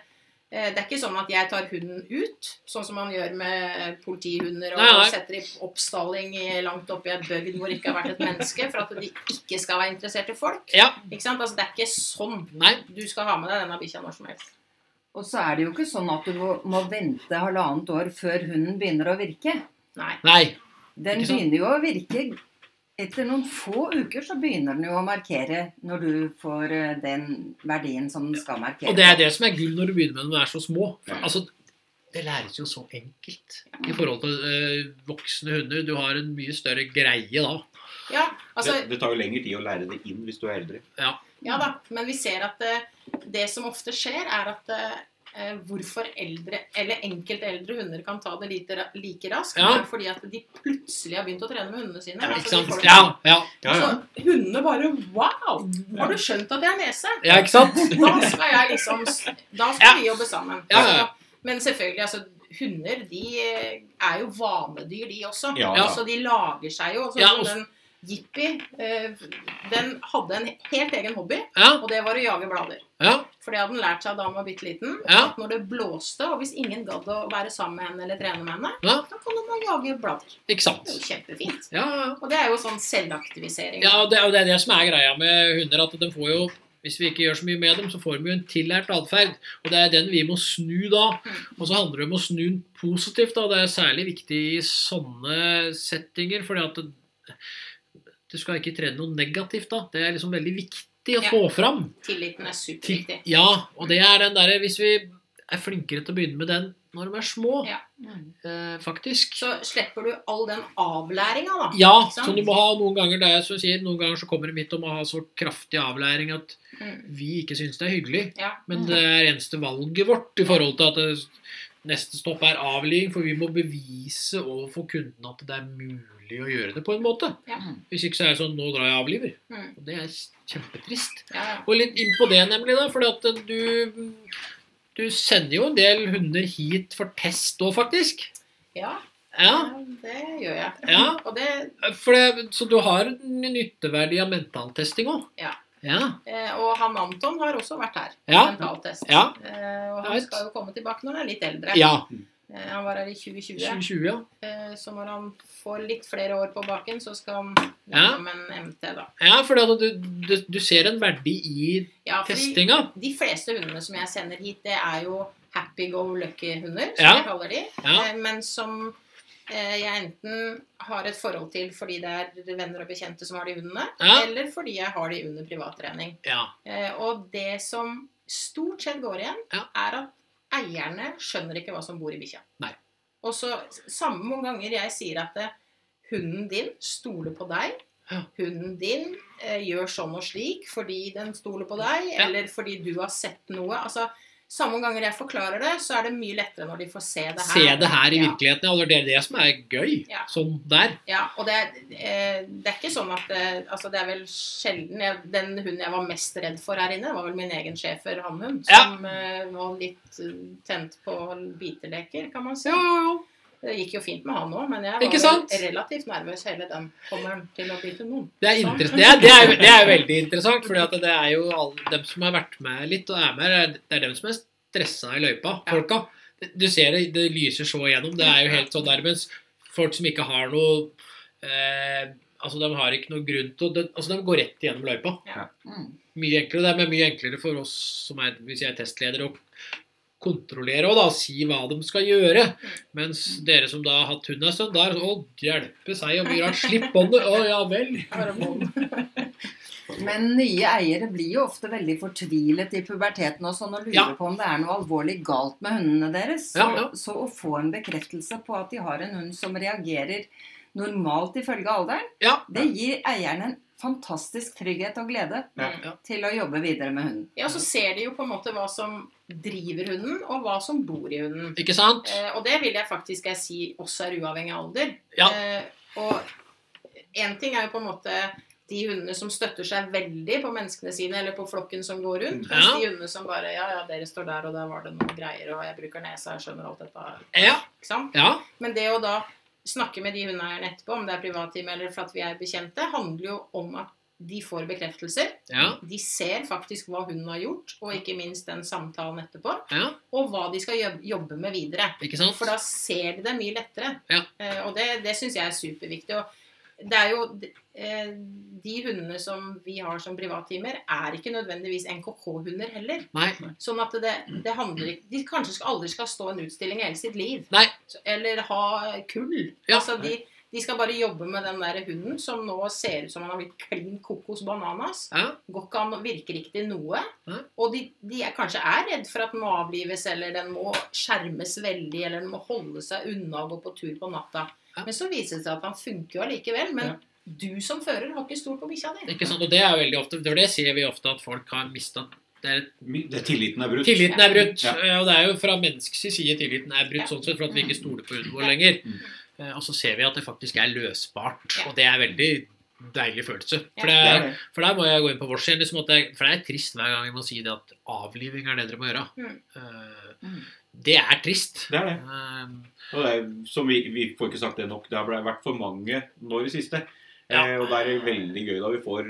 [SPEAKER 3] Eh, Det er ikke sånn at jeg tar hunden ut, sånn som man gjør med politihunder og
[SPEAKER 2] Nei, nei.
[SPEAKER 3] setter i oppstalling i- langt oppi ei bøgd hvor det ikke har vært et menneske, for at de ikke skal være interessert i folk.
[SPEAKER 2] Ja.
[SPEAKER 3] Ikke sant? Altså, det er ikke sånn.
[SPEAKER 2] Nei.
[SPEAKER 3] Du skal ha med deg denne bikkja når som helst.
[SPEAKER 4] Og så er det jo ikke sånn at du må- må vente halvannet år før hunden begynner å virke.
[SPEAKER 3] Nei.
[SPEAKER 2] Nei.
[SPEAKER 4] Den
[SPEAKER 2] Ikke sant?
[SPEAKER 4] begynner jo å virke Etter noen få uker så begynner den jo å markere når du får eh, den verdien som den skal markere.
[SPEAKER 2] Og det er det som er gull når du begynner med når du er så små. For,
[SPEAKER 1] Ja.
[SPEAKER 2] altså, det læres jo så enkelt i forhold til eh, voksne hunder. Du har en mye større greie da.
[SPEAKER 3] Ja, altså,
[SPEAKER 1] det, det tar jo lengre tid å lære det inn hvis du er eldre.
[SPEAKER 3] ja da, men vi ser at eh, det som ofte skjer, er at eh, hvorfor eldre, eller enkelte eldre hunder kan ta det lite, ra- like raskt,
[SPEAKER 2] Ja.
[SPEAKER 3] er fordi at de plutselig har begynt å trene med hundene sine.
[SPEAKER 1] Ja,
[SPEAKER 2] Ikke
[SPEAKER 3] Altså, de
[SPEAKER 2] sant?
[SPEAKER 3] får-
[SPEAKER 2] Ja, ja.
[SPEAKER 1] Ja, ja.
[SPEAKER 3] Så hundene bare Wow! Har du skjønt at jeg er nese?
[SPEAKER 2] ja ikke sant?
[SPEAKER 3] Da skal jeg liksom Da
[SPEAKER 2] Ja.
[SPEAKER 3] skal vi jobbe sammen.
[SPEAKER 2] Ja, ja, ja.
[SPEAKER 3] Men selvfølgelig, altså Hunder de eh, er jo vanedyr, de også.
[SPEAKER 1] Ja,
[SPEAKER 2] Ja.
[SPEAKER 3] Så de lager seg jo. Sånn
[SPEAKER 2] Ja,
[SPEAKER 3] som
[SPEAKER 2] og-
[SPEAKER 3] den Jippi, eh, den hadde en helt egen hobby,
[SPEAKER 2] Ja,
[SPEAKER 3] og det var å jage blader.
[SPEAKER 2] ja,
[SPEAKER 3] For det hadde han lært seg da han var bitte liten.
[SPEAKER 2] ja.
[SPEAKER 3] At når det blåste, og hvis ingen gadd å være sammen med henne eller trene med henne,
[SPEAKER 2] Ja.
[SPEAKER 3] da kan man jage blader.
[SPEAKER 2] Ikke
[SPEAKER 3] Det
[SPEAKER 2] sant?
[SPEAKER 3] er jo kjempefint.
[SPEAKER 2] Ja, ja.
[SPEAKER 3] Og det er jo sånn selvaktivisering.
[SPEAKER 2] Ja, og det, og det er det som er greia med hunder, at de får jo hvis vi ikke gjør så mye med dem, så får de jo en tillært atferd. Og det er den vi må snu da.
[SPEAKER 3] Mm.
[SPEAKER 2] Og så handler det om å snu den positivt. da. Det er særlig viktig i sånne settinger. fordi at det- du skal ikke trene noe negativt da. Det er liksom veldig viktig å
[SPEAKER 3] Ja.
[SPEAKER 2] få fram.
[SPEAKER 3] Tilliten er
[SPEAKER 2] Til,
[SPEAKER 3] superviktig.
[SPEAKER 2] ja, og det er den derre Hvis vi er flinkere til å begynne med den når de er små,
[SPEAKER 3] Ja.
[SPEAKER 4] Mm.
[SPEAKER 2] eh, faktisk.
[SPEAKER 3] så slipper du all den avlæringa, da.
[SPEAKER 2] Ja,
[SPEAKER 3] Ikke sant?
[SPEAKER 2] som du må ha noen ganger det er som du sier, noen ganger så kommer de hit og må ha så kraftig avlæring at
[SPEAKER 3] Mm.
[SPEAKER 2] vi ikke syns det er hyggelig.
[SPEAKER 3] Ja.
[SPEAKER 2] Men det er eneste valget vårt i forhold til at det, neste stopp er avligning, for vi må bevise overfor kunden at det er mulig å gjøre det på en måte.
[SPEAKER 3] Ja.
[SPEAKER 2] Hvis ikke så er det sånn nå drar jeg avliver.
[SPEAKER 3] Mm.
[SPEAKER 2] Og det er kjempetrist.
[SPEAKER 3] Ja, ja.
[SPEAKER 2] Og litt inn på det, nemlig, da, fordi at eh, du du sender jo en del hunder hit for test òg, faktisk.
[SPEAKER 3] ja,
[SPEAKER 2] Ja,
[SPEAKER 3] det gjør jeg.
[SPEAKER 2] ja.
[SPEAKER 3] Og det,
[SPEAKER 2] For det, så du har en nytteverdi av mentaltesting òg?
[SPEAKER 3] Ja.
[SPEAKER 2] ja.
[SPEAKER 3] eh, og han Anton har også vært her.
[SPEAKER 2] Ja.
[SPEAKER 3] Mentaltest.
[SPEAKER 2] Ja.
[SPEAKER 3] Eh, Og han
[SPEAKER 2] Right.
[SPEAKER 3] skal jo komme tilbake når han er litt eldre.
[SPEAKER 2] Ja.
[SPEAKER 3] Eh, Han var her i 2020.
[SPEAKER 2] 2020, ja.
[SPEAKER 3] eh, Så når han får litt flere år på baken, så skal han
[SPEAKER 2] Ja.
[SPEAKER 3] gjennom en MT, da.
[SPEAKER 2] Ja, for du, du, du ser en verdi i
[SPEAKER 3] Ja, fordi
[SPEAKER 2] testinga.
[SPEAKER 3] de fleste hundene som jeg sender hit, det er jo happy-go-lucky-hunder, som
[SPEAKER 2] Ja.
[SPEAKER 3] jeg kaller de.
[SPEAKER 2] Ja.
[SPEAKER 3] Eh, Men som eh, jeg enten har et forhold til fordi det er venner og bekjente som har de hundene,
[SPEAKER 2] Ja.
[SPEAKER 3] eller fordi jeg har de under privattrening.
[SPEAKER 2] ja.
[SPEAKER 3] Eh, Og det som stort sett går igjen,
[SPEAKER 2] Ja.
[SPEAKER 3] er at eierne skjønner ikke hva som bor i bikkja.
[SPEAKER 2] Nei.
[SPEAKER 3] Og så samme mange ganger jeg sier at eh, hunden din stoler på deg,
[SPEAKER 2] Ja.
[SPEAKER 3] hunden din eh, gjør sånn og slik fordi den stoler på deg,
[SPEAKER 2] Ja.
[SPEAKER 3] eller fordi du har sett noe. altså samme ganger jeg forklarer det, så er det mye lettere når de får se det her.
[SPEAKER 2] Se det her i
[SPEAKER 3] Ja.
[SPEAKER 2] virkeligheten. Ja. og Det er det som er gøy.
[SPEAKER 3] Ja.
[SPEAKER 2] Sånn der.
[SPEAKER 3] Ja, og det, er- eh, det er ikke sånn at eh, altså Det er vel sjelden jeg, Den hunden jeg var mest redd for her inne, var vel min egen schæfer hannhund.
[SPEAKER 2] Ja.
[SPEAKER 3] Som eh, var litt eh, tent på biteleker, kan man si. Det gikk jo fint med han òg, men jeg var
[SPEAKER 2] Ikke
[SPEAKER 3] vel
[SPEAKER 2] sant?
[SPEAKER 3] relativt nervøs hele den sommeren til å bite noen.
[SPEAKER 2] Det er,
[SPEAKER 3] Sånn.
[SPEAKER 2] interes- det, er, det, er, det er veldig interessant, for det er jo alle, dem som har vært med litt og er med, det er- det er dem som er stressa i løypa.
[SPEAKER 3] Ja.
[SPEAKER 2] Folka. Du ser det, det lyser så igjennom. Det er jo helt sånn der, mens folk som ikke har noe eh, Altså, de har ikke noe grunn til å det, Altså, de går rett igjennom løypa.
[SPEAKER 4] Mm.
[SPEAKER 2] Mye enklere. Det er men mye enklere for oss som er, hvis jeg er testleder, å kontrollere og da si hva de skal gjøre. Mens dere som da har hatt hund en stund, der Å, hjelpe seg og mye rart. Slipp båndet. Å, ja vel.
[SPEAKER 3] Bare bånd.
[SPEAKER 4] Men nye eiere blir jo ofte veldig fortvilet i puberteten og sånn, og lurer
[SPEAKER 2] Ja.
[SPEAKER 4] på om det er noe alvorlig galt med hundene deres. Så,
[SPEAKER 2] Ja, ja.
[SPEAKER 4] så å få en bekreftelse på at de har en hund som reagerer normalt ifølge alderen,
[SPEAKER 2] Ja.
[SPEAKER 4] det gir eierne en fantastisk trygghet og glede
[SPEAKER 1] Ja.
[SPEAKER 3] Mm.
[SPEAKER 4] til å jobbe videre med hunden.
[SPEAKER 3] Ja, så ser de jo på en måte hva som driver hunden, og hva som bor i hunden.
[SPEAKER 2] Ikke sant?
[SPEAKER 3] Eh, og det vil jeg faktisk jeg si også er uavhengig av alder.
[SPEAKER 2] Ja.
[SPEAKER 3] Eh, og én ting er jo på en måte de hundene som støtter seg veldig på menneskene sine eller på flokken som går rundt. Mens
[SPEAKER 2] Ja.
[SPEAKER 3] de hundene som bare Ja, ja, dere står der, og der var det noen greier, og jeg bruker nesa, jeg skjønner alt dette.
[SPEAKER 2] Ja.
[SPEAKER 3] Ikke sant?
[SPEAKER 2] Ja.
[SPEAKER 3] Men det å da snakke med de hundeeierne etterpå, om det er privattime eller for at vi er bekjente, handler jo om at De får bekreftelser.
[SPEAKER 2] Ja,
[SPEAKER 3] De ser faktisk hva hun har gjort, og ikke minst den samtalen etterpå.
[SPEAKER 2] ja,
[SPEAKER 3] Og hva de skal jobb- jobbe med videre.
[SPEAKER 2] ikke sant?
[SPEAKER 3] For da ser de det mye lettere.
[SPEAKER 2] Ja.
[SPEAKER 3] Eh, og det, det syns jeg er superviktig. Og det er jo eh, De hundene som vi har som privattimer, er ikke nødvendigvis NKK-hunder heller.
[SPEAKER 2] Nei.
[SPEAKER 3] Sånn at det, det handler ikke De kanskje skal, aldri skal stå en utstilling hele sitt liv.
[SPEAKER 2] Nei.
[SPEAKER 3] Så- Eller ha kull.
[SPEAKER 2] Ja.
[SPEAKER 3] Altså de, de skal bare jobbe med den der hunden som nå ser ut som han har blitt klin kokos bananas.
[SPEAKER 2] Ja,
[SPEAKER 3] Går ikke an å virke riktig noe.
[SPEAKER 2] Nei.
[SPEAKER 3] Og de, de er kanskje er redd for at den må avlives, eller den må skjermes veldig, eller den må holde seg unna og gå på tur på natta.
[SPEAKER 2] Ja.
[SPEAKER 3] Men så viser det seg at han funker jo allikevel. Men du som fører har ikke stolt på bikkja di.
[SPEAKER 2] ikke sant? Og det er jo veldig ofte, for det ser vi ofte at folk har mistet det er,
[SPEAKER 1] Det, tilliten er brutt.
[SPEAKER 2] Tilliten er brutt,
[SPEAKER 1] Ja.
[SPEAKER 2] eh, og det er jo fra menneskets side tilliten er brutt,
[SPEAKER 3] Ja.
[SPEAKER 2] sånn sett for at vi ikke stoler på hunden vår
[SPEAKER 3] Ja.
[SPEAKER 2] lenger.
[SPEAKER 1] Mm.
[SPEAKER 2] Eh, Og så ser vi at det faktisk er løsbart,
[SPEAKER 3] Ja.
[SPEAKER 2] og det er veldig deilig følelse.
[SPEAKER 3] Ja.
[SPEAKER 2] For,
[SPEAKER 1] Det er
[SPEAKER 2] det,
[SPEAKER 1] det.
[SPEAKER 2] for der må jeg gå inn på vårs igjen, liksom at det, for det er trist hver gang jeg må si det at avliving er det dere må gjøre.
[SPEAKER 3] Mm.
[SPEAKER 2] Eh,
[SPEAKER 4] Mm.
[SPEAKER 2] Det er trist.
[SPEAKER 1] det er det.
[SPEAKER 2] Eh,
[SPEAKER 1] Og det er, som vi, vi får ikke sagt det nok. Det har vært for mange nå i det siste.
[SPEAKER 2] Ja.
[SPEAKER 1] Eh, og det er veldig gøy da vi får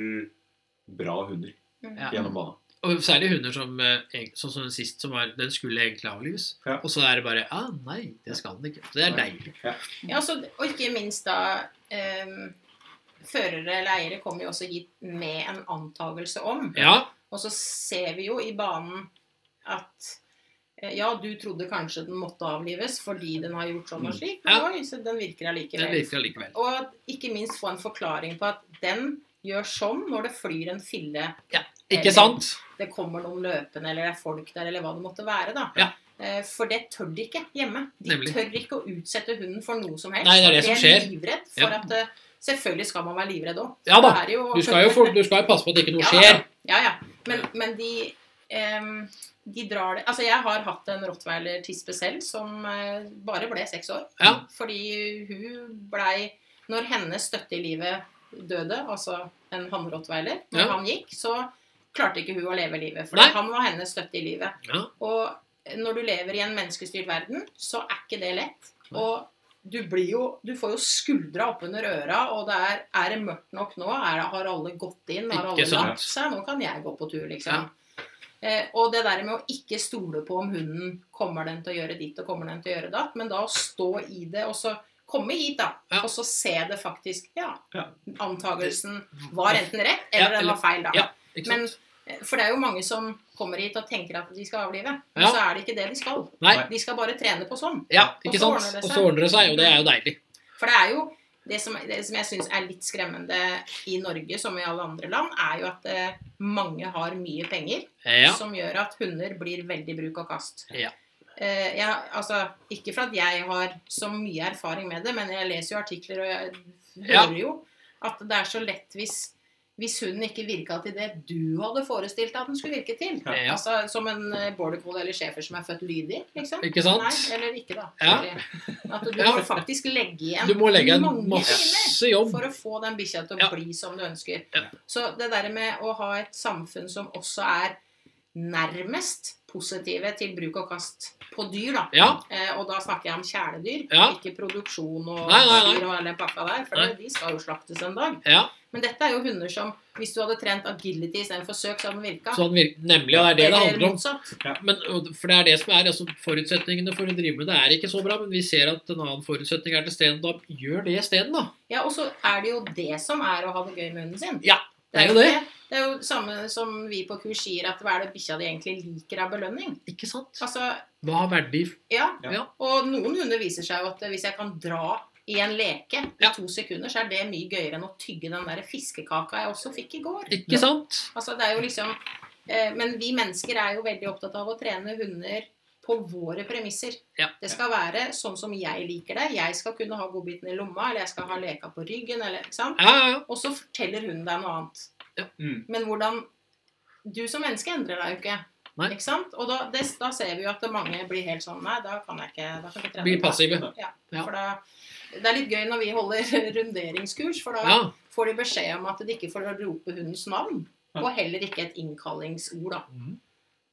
[SPEAKER 1] bra hunder
[SPEAKER 3] Mm.
[SPEAKER 2] Ja.
[SPEAKER 1] gjennom banen.
[SPEAKER 2] Og særlig hunder som eh, eg- sånn som den sist, som var, den skulle egentlig avlives.
[SPEAKER 1] Ja.
[SPEAKER 2] Og så er det bare ah, nei, det skal den ikke. Så det er deilig.
[SPEAKER 3] Ja, så, og ikke minst da ehm, Førere eller eiere kommer jo også hit med en antakelse om.
[SPEAKER 2] Ja,
[SPEAKER 3] Og så ser vi jo i banen at eh, ja, du trodde kanskje den måtte avlives fordi den har gjort sånn og slik, men
[SPEAKER 2] Mm. Ja.
[SPEAKER 3] oi, så den virker
[SPEAKER 2] den
[SPEAKER 3] allikevel.
[SPEAKER 2] virker allikevel.
[SPEAKER 3] Og ikke minst få en forklaring på at den gjør sånn når det flyr en fille,
[SPEAKER 2] Ikke sant?
[SPEAKER 3] det kommer noen løpende, eller det er folk der, eller hva det måtte være, da.
[SPEAKER 2] Ja.
[SPEAKER 3] Eh, For det tør de ikke hjemme. De
[SPEAKER 2] Nemlig.
[SPEAKER 3] tør ikke å utsette hunden for noe som helst.
[SPEAKER 2] Nei, det er det som
[SPEAKER 3] De
[SPEAKER 2] skjer.
[SPEAKER 3] livredd
[SPEAKER 2] Ja.
[SPEAKER 3] for at eh, Selvfølgelig skal man være livredd òg.
[SPEAKER 2] Ja da, Du skal jo, fort- du skal jo passe på at ikke noe
[SPEAKER 3] Ja.
[SPEAKER 2] skjer.
[SPEAKER 3] Ja, ja. Men, men de, em, de drar det Altså, jeg har hatt en rottweiler-tispe selv som eh, bare ble seks år.
[SPEAKER 2] Ja.
[SPEAKER 3] Fordi hun blei Når hennes støtte i livet døde, altså en hannrottweiler, når
[SPEAKER 2] Ja.
[SPEAKER 3] han gikk, så klarte ikke hun å leve livet. For
[SPEAKER 2] Nei.
[SPEAKER 3] han var hennes støtte i livet.
[SPEAKER 2] Ja.
[SPEAKER 3] Og når du lever i en menneskestyrt verden, så er ikke det lett.
[SPEAKER 2] Nei.
[SPEAKER 3] Og du blir jo Du får jo skuldra oppunder øra, og det er Er det mørkt nok nå? Er det, har alle gått inn? Har
[SPEAKER 2] Ikke
[SPEAKER 3] alle
[SPEAKER 2] sant.
[SPEAKER 3] lagt seg? Nå kan jeg gå på tur, liksom. Eh, og det der med å ikke stole på om hunden kommer den til å gjøre ditt og kommer den til å gjøre datt, men da å stå i det og så komme hit, da,
[SPEAKER 2] Ja.
[SPEAKER 3] og så se det faktisk Ja,
[SPEAKER 1] Ja.
[SPEAKER 3] antagelsen var enten rett,
[SPEAKER 2] Ja,
[SPEAKER 3] eller den
[SPEAKER 2] eller-
[SPEAKER 3] var feil, da.
[SPEAKER 2] ja. Ikke
[SPEAKER 3] Men,
[SPEAKER 2] sant?
[SPEAKER 3] for det er jo mange som kommer hit og tenker at de skal avlive. Men
[SPEAKER 2] Ja.
[SPEAKER 3] så er det ikke det de skal.
[SPEAKER 2] Nei.
[SPEAKER 3] De skal bare trene på sånn.
[SPEAKER 2] Ja,
[SPEAKER 3] Og
[SPEAKER 2] ikke
[SPEAKER 3] så
[SPEAKER 2] sant?
[SPEAKER 3] ordner det
[SPEAKER 2] Og så
[SPEAKER 3] seg.
[SPEAKER 2] ordner det seg, og det er jo deilig.
[SPEAKER 3] For det er jo det som, det som jeg syns er litt skremmende i Norge, som i alle andre land, er jo at eh, mange har mye penger,
[SPEAKER 2] Ja.
[SPEAKER 3] som gjør at hunder blir veldig bruk og kast.
[SPEAKER 2] Ja.
[SPEAKER 3] Eh, jeg, altså, ikke for at jeg har så mye erfaring med det, men jeg leser jo artikler, og jeg
[SPEAKER 2] Ja.
[SPEAKER 3] hører jo at det er så lett hvis, hvis hunden ikke virka til det du hadde forestilt deg at den skulle virke til.
[SPEAKER 2] Ja.
[SPEAKER 3] Altså, Som en eh, border collie eller schæfer som er født lydig, liksom.
[SPEAKER 2] Ikke sant?
[SPEAKER 3] Nei, eller ikke, da.
[SPEAKER 2] Ja.
[SPEAKER 3] Eller At du
[SPEAKER 2] Ja.
[SPEAKER 3] må faktisk legge igjen
[SPEAKER 2] Du må legge en
[SPEAKER 3] mange timer
[SPEAKER 2] masse jobb.
[SPEAKER 3] for å få den bikkja til å
[SPEAKER 2] Ja.
[SPEAKER 3] bli som du ønsker.
[SPEAKER 2] Ja.
[SPEAKER 3] Så det der med å ha et samfunn som også er nærmest positive til bruk og kast på dyr, da.
[SPEAKER 2] Ja.
[SPEAKER 3] Eh, og da snakker jeg om kjæledyr,
[SPEAKER 2] Ja.
[SPEAKER 3] ikke produksjon og
[SPEAKER 2] Nei, nei, nei.
[SPEAKER 3] dyr og hele den pakka der. For
[SPEAKER 2] Nei.
[SPEAKER 3] de skal jo slaktes en dag.
[SPEAKER 2] Ja.
[SPEAKER 3] Men dette er jo hunder som Hvis du hadde trent agility istedenfor søk, så hadde den virka.
[SPEAKER 2] Sånn virker, nemlig, og det er det det handler om.
[SPEAKER 3] motsatt.
[SPEAKER 2] Men, og- for det er det som er, altså Forutsetningene for å drive med det er ikke så bra, men vi ser at en annen forutsetning er til stede. Da gjør det isteden, da.
[SPEAKER 3] Ja, og så er det jo det som er å ha det gøy med hunden sin.
[SPEAKER 2] Ja, det er jo det.
[SPEAKER 3] ikke- Det er jo samme som vi på kurs sier at hva er det bikkja di egentlig liker av belønning?
[SPEAKER 2] Ikke sant?
[SPEAKER 3] Altså,
[SPEAKER 2] Hva har verdi?
[SPEAKER 3] ja.
[SPEAKER 2] Ja.
[SPEAKER 3] Og noen hunder viser seg jo at hvis jeg kan dra i en leke i
[SPEAKER 2] Ja.
[SPEAKER 3] to sekunder, så er det mye gøyere enn å tygge den der fiskekaka jeg også fikk i går.
[SPEAKER 2] Ikke sant?
[SPEAKER 3] Altså, det er jo liksom eh, Men vi mennesker er jo veldig opptatt av å trene hunder på våre premisser.
[SPEAKER 2] Ja.
[SPEAKER 3] Det skal være sånn som jeg liker det. Jeg skal kunne ha godbiten i lomma, eller jeg skal ha leka på ryggen, eller ikke sant?
[SPEAKER 2] Ja, ja, ja.
[SPEAKER 3] Og så forteller hun deg noe annet.
[SPEAKER 1] Mm.
[SPEAKER 3] Men hvordan Du som menneske endrer deg jo ikke.
[SPEAKER 2] Nei.
[SPEAKER 3] Ikke sant? Og da, det, da ser vi jo at mange blir helt sånn Nei, da kan jeg ikke, da kan jeg ikke trene.
[SPEAKER 2] Blir passive. ja.
[SPEAKER 3] For da, det er litt gøy når vi holder runderingskurs, for da
[SPEAKER 2] Ja.
[SPEAKER 3] får de beskjed om at de ikke får rope hundens navn.
[SPEAKER 1] Ja.
[SPEAKER 3] Og heller ikke et innkallingsord, da.
[SPEAKER 2] Mhm.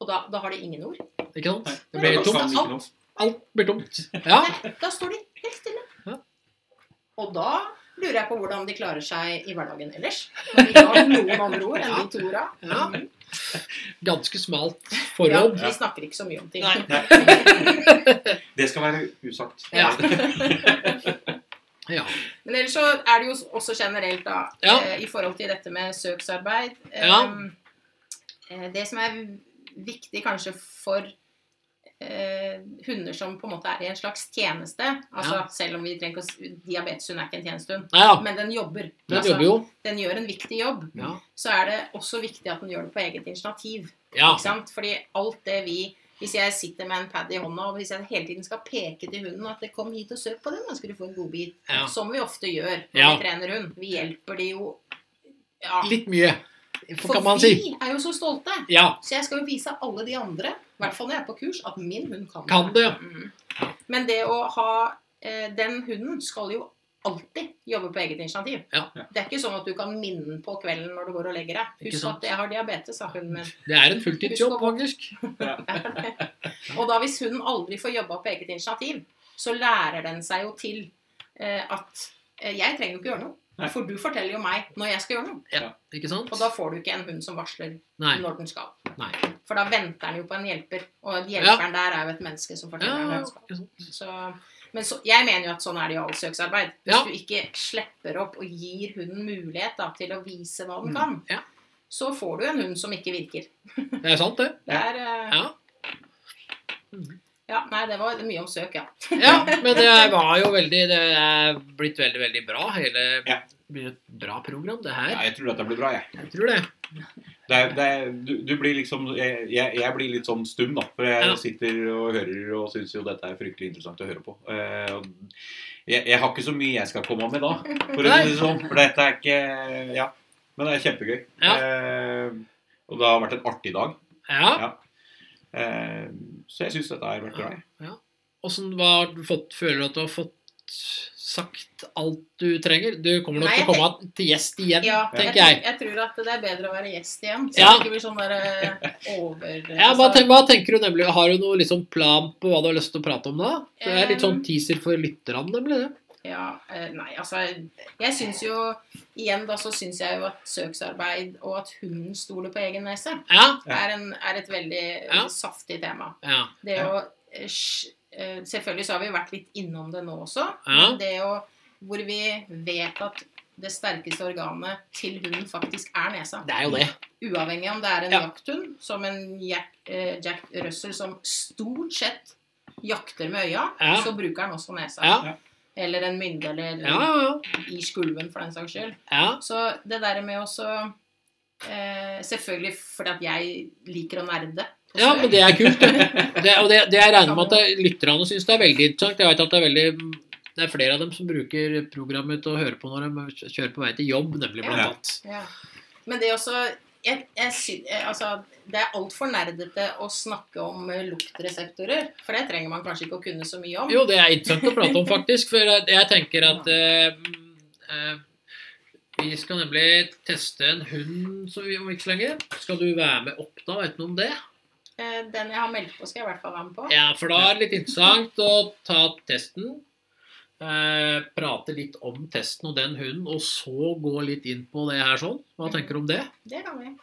[SPEAKER 3] Og da, da har de ingen ord.
[SPEAKER 2] Ikke sant?
[SPEAKER 1] Nei,
[SPEAKER 2] Det blir
[SPEAKER 1] da
[SPEAKER 3] helt
[SPEAKER 2] tomt.
[SPEAKER 1] kan vi ikke noe.
[SPEAKER 2] Alt blir tomt. Ja.
[SPEAKER 3] Nei, da står de helt stille.
[SPEAKER 2] Ja.
[SPEAKER 3] Og da lurer lurer jeg på hvordan de klarer seg i hverdagen ellers. Om de ikke har noen andre ord enn de to orda. Mm.
[SPEAKER 2] Ja. Ganske smalt
[SPEAKER 3] Ja,
[SPEAKER 2] forråd.
[SPEAKER 3] vi snakker ikke så mye om ting.
[SPEAKER 2] Nei.
[SPEAKER 1] Det skal være usagt.
[SPEAKER 2] Ja. Ja.
[SPEAKER 3] Men ellers så er det jo også generelt, da,
[SPEAKER 2] Ja.
[SPEAKER 3] eh, i forhold til dette med søksarbeid eh,
[SPEAKER 2] Ja.
[SPEAKER 3] eh, Det som er viktig kanskje for eh, hunder som på en måte er i en slags tjeneste altså
[SPEAKER 2] Ja.
[SPEAKER 3] Selv om vi trenger ikke å s- Diabeteshund er ikke en tjenestehund,
[SPEAKER 2] Nei da,
[SPEAKER 3] men den jobber.
[SPEAKER 2] den
[SPEAKER 3] Altså,
[SPEAKER 2] jobber jo.
[SPEAKER 3] den gjør en viktig jobb.
[SPEAKER 2] Ja.
[SPEAKER 3] Så er det også viktig at den gjør det på eget initiativ.
[SPEAKER 2] ja.
[SPEAKER 3] Ikke sant? Fordi alt det vi Hvis jeg sitter med en pad i hånda, og hvis jeg hele tiden skal peke til hunden at det 'kom hit og søk på den', da skal du få en godbit.
[SPEAKER 2] Ja.
[SPEAKER 3] Som vi ofte gjør når
[SPEAKER 2] Ja.
[SPEAKER 3] vi trener hund. Vi hjelper de jo ja.
[SPEAKER 2] Litt mye,
[SPEAKER 3] For
[SPEAKER 2] kan man si.
[SPEAKER 3] vi er jo så stolte.
[SPEAKER 2] Ja.
[SPEAKER 3] Så jeg skal jo vise alle de andre, i hvert fall når jeg er på kurs, at min hund kan,
[SPEAKER 2] Kan det, ja.
[SPEAKER 3] Mhm. Men det å ha eh, Den hunden skal jo alltid jobbe på eget initiativ.
[SPEAKER 2] Ja.
[SPEAKER 3] Det er ikke sånn at du kan minne den på kvelden når du går og legger deg.
[SPEAKER 2] Ikke
[SPEAKER 3] Husk
[SPEAKER 2] sant.
[SPEAKER 3] at jeg har diabetes, sa hunden min.
[SPEAKER 2] Det er en fulltidsjobb, faktisk.
[SPEAKER 3] Og da hvis hunden aldri får jobba på eget initiativ, så lærer den seg jo til eh, at eh, jeg trenger jo ikke gjøre noe.
[SPEAKER 1] Nei.
[SPEAKER 3] For du forteller jo meg når jeg skal gjøre noe.
[SPEAKER 2] Ikke sant?
[SPEAKER 3] Og da får du ikke en hund som varsler
[SPEAKER 2] Nei.
[SPEAKER 3] når den skal.
[SPEAKER 2] Nei.
[SPEAKER 3] For da venter den jo på en hjelper, og hjelperen der er jo et menneske som forteller
[SPEAKER 2] Ja,
[SPEAKER 3] når den skal. Så, men så, jeg mener jo at sånn er det i all søksarbeid. Hvis
[SPEAKER 2] Ja.
[SPEAKER 3] du ikke slipper opp og gir hunden mulighet da, til å vise hva den
[SPEAKER 1] Mm,
[SPEAKER 3] kan,
[SPEAKER 2] ja.
[SPEAKER 3] så får du en hund som ikke virker.
[SPEAKER 2] det er sant, det.
[SPEAKER 3] Det er, eh,
[SPEAKER 2] Ja.
[SPEAKER 3] ja, nei, det var mye om søk, ja.
[SPEAKER 2] Ja, men det var jo veldig Det er blitt veldig, veldig bra. Hele
[SPEAKER 1] Ja.
[SPEAKER 2] det blir et bra program, det
[SPEAKER 1] Ja,
[SPEAKER 2] her.
[SPEAKER 1] jeg tror dette blir bra, jeg.
[SPEAKER 2] Jeg tror det.
[SPEAKER 1] Det er, det er, du, du blir liksom jeg, jeg jeg blir litt sånn stum, da. For
[SPEAKER 2] Ja.
[SPEAKER 1] jeg sitter og hører og syns jo dette er fryktelig interessant å høre på. Eh, og jeg, jeg har ikke så mye jeg skal komme med da, for å
[SPEAKER 2] Nei.
[SPEAKER 1] si det sånn. For dette er ikke Ja. Men det er kjempegøy.
[SPEAKER 2] Ja.
[SPEAKER 1] Eh, og det har vært en artig dag.
[SPEAKER 2] Ja.
[SPEAKER 1] Eh, så jeg syns dette har vært bra. jeg.
[SPEAKER 2] Åssen har du fått Føler du at du har fått sagt alt du trenger? Du kommer nok
[SPEAKER 3] Nei,
[SPEAKER 2] til å komme til gjest igjen.
[SPEAKER 3] Ja, jeg,
[SPEAKER 2] tenker jeg.
[SPEAKER 3] tror- jeg tror at det er bedre å være gjest igjen. Så
[SPEAKER 2] Ja.
[SPEAKER 3] det ikke blir sånn der eh, over...
[SPEAKER 2] Ja, hva,
[SPEAKER 3] altså-
[SPEAKER 2] ten- hva tenker du nemlig? Har du noe liksom plan på hva du har lyst til å prate om da? Det er litt sånn
[SPEAKER 3] Em.
[SPEAKER 2] teaser for lytterne, nemlig det.
[SPEAKER 3] Ja, eh, nei, altså Jeg syns jo Igjen, da, så syns jeg jo at søksarbeid og at hunden stoler på egen nese,
[SPEAKER 2] Ja.
[SPEAKER 1] Ja.
[SPEAKER 3] er, en, er et veldig eh,
[SPEAKER 2] Ja.
[SPEAKER 3] saftig tema.
[SPEAKER 2] Ja.
[SPEAKER 3] Det
[SPEAKER 1] Ja.
[SPEAKER 3] å eh, sj- eh, Selvfølgelig så har vi vært litt innom det nå også.
[SPEAKER 2] Ja.
[SPEAKER 3] Men det å Hvor vi vet at det sterkeste organet til hunden faktisk er nesa.
[SPEAKER 2] Det er jo det.
[SPEAKER 3] Uavhengig om det er en
[SPEAKER 2] Ja.
[SPEAKER 3] jakthund, som en Jack, eh, Jack Russell som stort sett jakter med øya,
[SPEAKER 2] Ja.
[SPEAKER 3] så bruker han også nesa.
[SPEAKER 2] Ja.
[SPEAKER 3] Eller en mynde, eller
[SPEAKER 2] Ja, ja,
[SPEAKER 3] i skulven, for den saks skyld.
[SPEAKER 2] ja.
[SPEAKER 3] Så det der med også eh, Selvfølgelig fordi at jeg liker å nerde. på
[SPEAKER 2] Ja,
[SPEAKER 3] søk.
[SPEAKER 2] men det er kult. Det, og det, det jeg regner med at det- lytterne syns det er veldig interessant. Jeg vet at det er veldig det er flere av dem som bruker programmet til å høre på når de kjører på vei til jobb, nemlig blant
[SPEAKER 1] Ja.
[SPEAKER 2] annet.
[SPEAKER 3] Ja. Men det er også jeg, jeg sy- eh, altså, Det er altfor nerdete å snakke om eh, luktreseptorer. For det trenger man kanskje ikke å kunne så mye om.
[SPEAKER 2] Jo, det er interessant å prate om, faktisk. For jeg- jeg tenker at eh, eh, vi skal nemlig teste en hund som vi om ikke så lenge. Skal du være med opp da? Vet du noe om det?
[SPEAKER 3] Eh, Den jeg har meldt på, skal jeg i hvert fall være med på.
[SPEAKER 2] Ja, for da er det litt interessant å ta testen. Eh, prate litt om testen og den hunden, og så gå litt inn på det her sånn. Hva tenker du om det?
[SPEAKER 3] Det kan vi.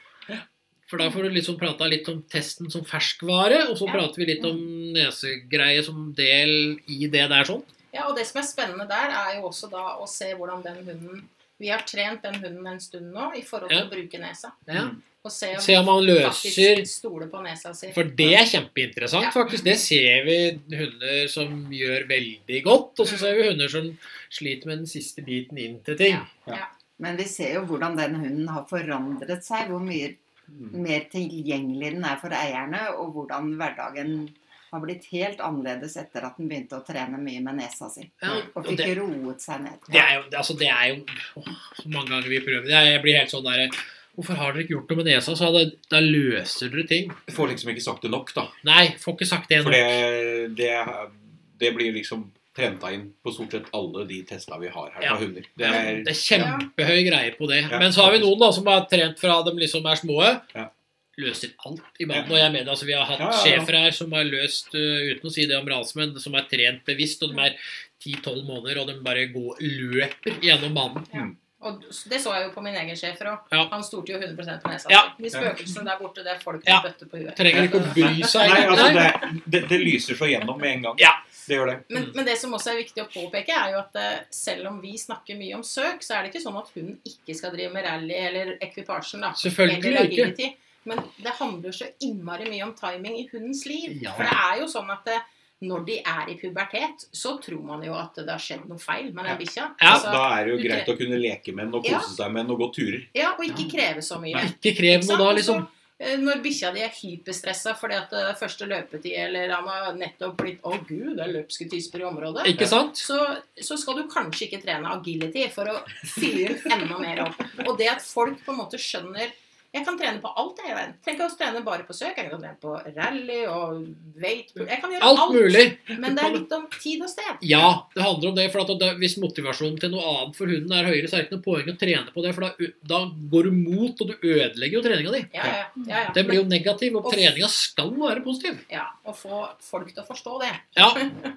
[SPEAKER 2] For da får du liksom prata litt om testen som ferskvare, og så
[SPEAKER 3] Ja.
[SPEAKER 2] prater vi litt om nesegreie som del i det der sånn.
[SPEAKER 3] Ja, og det som er spennende der, er jo også da å se hvordan den hunden Vi har trent den hunden en stund nå i forhold til
[SPEAKER 2] Ja.
[SPEAKER 3] å bruke nesa.
[SPEAKER 2] Ja.
[SPEAKER 3] Og se om
[SPEAKER 2] Se om han
[SPEAKER 3] den
[SPEAKER 2] løser
[SPEAKER 3] Mm. faktisk stoler på nesa si.
[SPEAKER 2] For det er kjempeinteressant,
[SPEAKER 3] Ja.
[SPEAKER 2] faktisk. Det ser vi hunder som gjør veldig godt, og så ser vi hunder som sliter med den siste biten inn til ting.
[SPEAKER 4] Men vi ser jo hvordan den hunden har forandret seg. Hvor mye
[SPEAKER 1] Mm.
[SPEAKER 4] mer tilgjengelig den er for eierne, og hvordan hverdagen har blitt helt annerledes etter at den begynte å trene mye med nesa si.
[SPEAKER 2] Ja,
[SPEAKER 4] Og
[SPEAKER 2] og det-
[SPEAKER 4] fikk roet seg ned.
[SPEAKER 2] Det er jo, det, altså, det er jo åh, så mange ganger vi prøver det. er- Jeg blir helt sånn der Hvorfor har dere ikke gjort noe med nesa? Så hadde, da løser dere ting.
[SPEAKER 1] Jeg får liksom ikke sagt det nok, da.
[SPEAKER 2] Nei, får ikke sagt det
[SPEAKER 1] For
[SPEAKER 2] nå.
[SPEAKER 1] det, det, det blir liksom prenta inn på stort sett alle de testa vi har her
[SPEAKER 2] Ja.
[SPEAKER 1] fra hunder. Det er,
[SPEAKER 2] Det er kjempehøy greie på det.
[SPEAKER 1] Ja,
[SPEAKER 2] Men så har vi
[SPEAKER 1] faktisk.
[SPEAKER 2] noen da som har trent fra de liksom er små.
[SPEAKER 1] Ja.
[SPEAKER 2] løser alt i banen. Og jeg mener, altså, Vi har hatt
[SPEAKER 1] Ja, ja, ja.
[SPEAKER 2] sjefer her som har løst, eh, uten å si det om Ransmenn, som er trent bevisst, og de er 10-12 måneder, og de bare går, løper gjennom banen.
[SPEAKER 3] Og det så jeg jo på min egen sjef òg.
[SPEAKER 2] Ja.
[SPEAKER 3] Han stolte jo 100 på nesa.
[SPEAKER 2] Ja.
[SPEAKER 3] De spøkelsene der borte, det er folk
[SPEAKER 2] Ja.
[SPEAKER 3] med bøtte på huet.
[SPEAKER 2] Trenger ikke å bry seg.
[SPEAKER 1] Nei, altså,
[SPEAKER 2] engang.
[SPEAKER 1] det, det, det lyser så gjennom med en gang.
[SPEAKER 2] Ja.
[SPEAKER 1] Det gjør det.
[SPEAKER 3] Men,
[SPEAKER 2] Mm.
[SPEAKER 3] men det som også er viktig å påpeke, er jo at eh, selv om vi snakker mye om søk, så er det ikke sånn at hunden ikke skal drive med rally eller ekvipasjen. da.
[SPEAKER 2] Selvfølgelig
[SPEAKER 3] eller
[SPEAKER 2] ikke.
[SPEAKER 3] agility. Men det handler jo så innmari mye om timing i hundens liv.
[SPEAKER 2] Ja.
[SPEAKER 3] For det er jo sånn at eh, når de er i pubertet, så tror man jo at det har skjedd noe feil med
[SPEAKER 1] Ja.
[SPEAKER 3] den bikkja.
[SPEAKER 2] Ja.
[SPEAKER 3] Altså,
[SPEAKER 1] Da er det jo
[SPEAKER 3] du
[SPEAKER 1] greit å kunne leke med den og
[SPEAKER 3] Ja.
[SPEAKER 1] kose seg med den og gå turer.
[SPEAKER 3] ja, og ikke kreve så mye.
[SPEAKER 2] Ikke krev noe
[SPEAKER 3] Ikke sant?
[SPEAKER 2] da,
[SPEAKER 3] Og så,
[SPEAKER 2] liksom.
[SPEAKER 3] eh, Når bikkja di er hyperstressa fordi at det er første løpetid, eller han har nettopp blitt Å, gud, det er løpske tisper i området.
[SPEAKER 2] Ikke sant?
[SPEAKER 3] Så, så skal du kanskje ikke trene agility for å fyre den enda mer opp. Og det at folk på en måte skjønner Jeg kan trene på alt jeg i verden. Tenk å trene bare på søk. Jeg kan trene på rally og weight Jeg kan gjøre alt.
[SPEAKER 2] Alt mulig.
[SPEAKER 3] Men det er litt om tid og sted.
[SPEAKER 2] Ja, det handler om det. for at det, Hvis motivasjonen til noe annet for hunden er høyere, så er det ikke noe poeng å trene på det. For da, ø- da går du mot, og du ødelegger jo treninga di.
[SPEAKER 3] Ja, ja, ja, ja.
[SPEAKER 2] Den blir jo negativ, og
[SPEAKER 3] Og-
[SPEAKER 2] treninga skal være positiv.
[SPEAKER 3] Ja, og få folk til å forstå det.
[SPEAKER 2] Ja.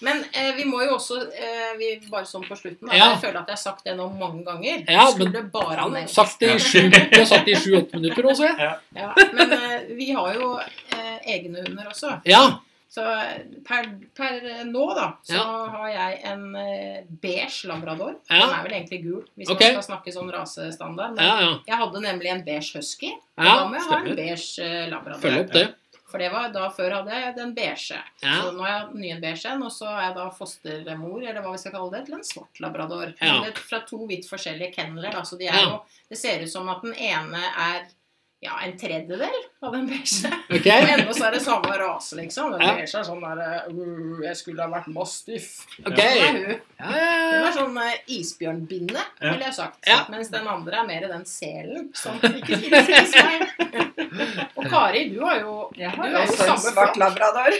[SPEAKER 3] Men eh, vi må jo også eh, vi Bare sånn på slutten. Da,
[SPEAKER 2] Ja.
[SPEAKER 3] Jeg føler at jeg har sagt det nå mange ganger.
[SPEAKER 2] Ja, men-
[SPEAKER 3] Skulle bare nevnt.
[SPEAKER 2] Sagt det i sju jeg har sagt det i sju-åtte minutter også, jeg.
[SPEAKER 3] Ja, men eh, vi har jo eh, egne hunder også.
[SPEAKER 2] Ja.
[SPEAKER 3] Så per, per nå, da, så
[SPEAKER 2] Ja.
[SPEAKER 3] har jeg en eh, beige labrador.
[SPEAKER 2] Ja.
[SPEAKER 3] Den er vel egentlig gul, hvis
[SPEAKER 2] Ok.
[SPEAKER 3] man skal snakke sånn rasestandard. Men
[SPEAKER 2] Ja, ja.
[SPEAKER 3] jeg hadde nemlig en beige husky. Og
[SPEAKER 2] ja
[SPEAKER 3] da må jeg ha en
[SPEAKER 2] stemmer.
[SPEAKER 3] beige eh, labrador.
[SPEAKER 2] Følg opp det.
[SPEAKER 3] For det var da før hadde jeg den beige.
[SPEAKER 2] Ja.
[SPEAKER 3] Så nå har jeg ny en beige en, og så er jeg da fostermor, eller hva vi skal kalle det, til en svart labrador.
[SPEAKER 2] Ja.
[SPEAKER 3] Men det er Fra to vidt forskjellige kenneler. Altså de er
[SPEAKER 2] Ja.
[SPEAKER 3] jo, det ser ut som at den ene er ja, en tredjedel av den beige.
[SPEAKER 2] Ok?
[SPEAKER 3] Og ennå så er det samme rase, liksom. Den
[SPEAKER 2] Ja.
[SPEAKER 3] beige er sånn der eh, uh, Jeg skulle ha vært mastiff.
[SPEAKER 2] Ok.
[SPEAKER 3] Sånn
[SPEAKER 2] Ja,
[SPEAKER 3] er hun.
[SPEAKER 2] ja,
[SPEAKER 3] Hun
[SPEAKER 2] ja.
[SPEAKER 3] er sånn eh, isbjørnbinde,
[SPEAKER 1] Ja.
[SPEAKER 3] ville jeg sagt.
[SPEAKER 2] Ja.
[SPEAKER 3] Mens den andre er mer den selen som ikke finnes i meg. Og Kari, du har jo
[SPEAKER 4] Jeg
[SPEAKER 3] Du
[SPEAKER 4] har
[SPEAKER 3] er jo
[SPEAKER 4] også en
[SPEAKER 3] samme
[SPEAKER 4] svart
[SPEAKER 3] flokk.
[SPEAKER 4] labrador.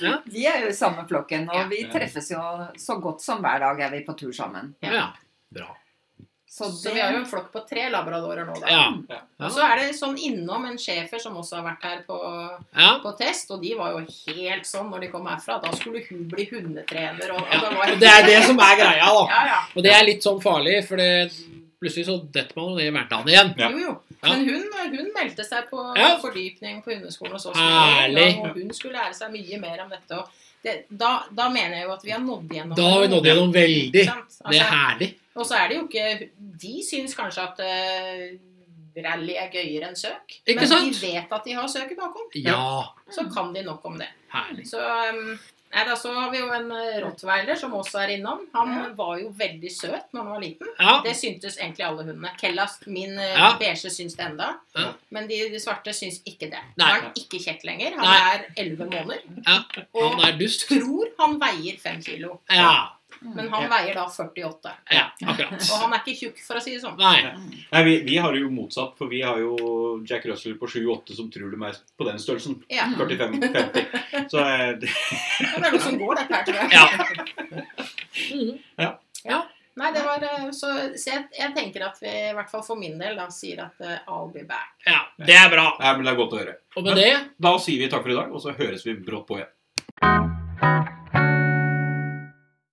[SPEAKER 2] Ja.
[SPEAKER 4] Vi er jo i samme flokken, og vi
[SPEAKER 1] Ja.
[SPEAKER 4] treffes jo så godt som hver dag er vi på tur sammen.
[SPEAKER 2] ja, ja. Bra.
[SPEAKER 4] Så
[SPEAKER 3] Så
[SPEAKER 4] det
[SPEAKER 3] vi har jo en flokk på tre labradorer nå. Da.
[SPEAKER 2] Ja.
[SPEAKER 3] Og så er det sånn innom en schæfer som også har vært her på,
[SPEAKER 2] ja.
[SPEAKER 3] på test, og de var jo helt sånn når de kom herfra. Da skulle hun bli hundetrener og,
[SPEAKER 2] Ja,
[SPEAKER 3] og det var
[SPEAKER 2] Og det er det som er greia, da.
[SPEAKER 3] Ja, ja.
[SPEAKER 2] Og det er litt sånn farlig, for det, plutselig så detter man jo ned i hverdagen igjen.
[SPEAKER 1] Ja.
[SPEAKER 3] Jo, jo.
[SPEAKER 2] Ja.
[SPEAKER 3] Men hun, hun meldte seg på
[SPEAKER 2] Ja.
[SPEAKER 3] fordypning på hundeskolen hos oss.
[SPEAKER 2] Herlig.
[SPEAKER 3] Og hun skulle lære seg mye mer om dette. Og det, da, da mener jeg jo at vi har nådd gjennom.
[SPEAKER 2] Da har vi nådd gjennom veldig.
[SPEAKER 3] Ikke sant?
[SPEAKER 2] Det er
[SPEAKER 3] Altså,
[SPEAKER 2] herlig.
[SPEAKER 3] og så er det jo ikke De syns kanskje at eh, rally er gøyere enn søk.
[SPEAKER 2] Ikke
[SPEAKER 3] men
[SPEAKER 2] sant?
[SPEAKER 3] de vet at de har søket bakom.
[SPEAKER 2] Ja.
[SPEAKER 3] Så kan de nok om det.
[SPEAKER 2] Herlig.
[SPEAKER 3] Så um, nei, da, så har vi jo en eh, rottweiler som også er innom. Han var jo veldig søt når han var liten.
[SPEAKER 2] Ja.
[SPEAKER 3] Det syntes egentlig alle hundene. Kellas, min eh,
[SPEAKER 2] Ja.
[SPEAKER 3] beige, syns det enda.
[SPEAKER 2] Ja.
[SPEAKER 3] Men de, de svarte syns ikke det. Nå
[SPEAKER 2] Nei.
[SPEAKER 3] er han ikke kjekk lenger. Han
[SPEAKER 2] Nei.
[SPEAKER 3] er 11 måneder.
[SPEAKER 2] Ja.
[SPEAKER 3] Og
[SPEAKER 2] Han er dust.
[SPEAKER 3] tror han veier 5 kilo.
[SPEAKER 2] Ja.
[SPEAKER 3] Men han
[SPEAKER 1] Ja.
[SPEAKER 3] veier da 48.
[SPEAKER 2] ja akkurat.
[SPEAKER 3] Og han er ikke tjukk, for å si det sånn.
[SPEAKER 2] Nei.
[SPEAKER 1] Nei, vi, vi har det jo motsatt, for vi har jo Jack Russell på 7-8 som tror du meg på den størrelsen.
[SPEAKER 3] Ja.
[SPEAKER 2] Mm.
[SPEAKER 1] 45-50. Så eh, det-
[SPEAKER 3] Det er noe som går, dette her, tror jeg.
[SPEAKER 2] Ja. Mhm.
[SPEAKER 3] Nei, det var eh, Så, så jeg, jeg tenker at vi, i hvert fall for min del, da sier at eh, I'll be back.
[SPEAKER 2] ja. Det er bra.
[SPEAKER 1] Nei, men det er godt å høre.
[SPEAKER 2] Og med det
[SPEAKER 1] Da sier vi takk for i dag, og så høres vi brått på igjen.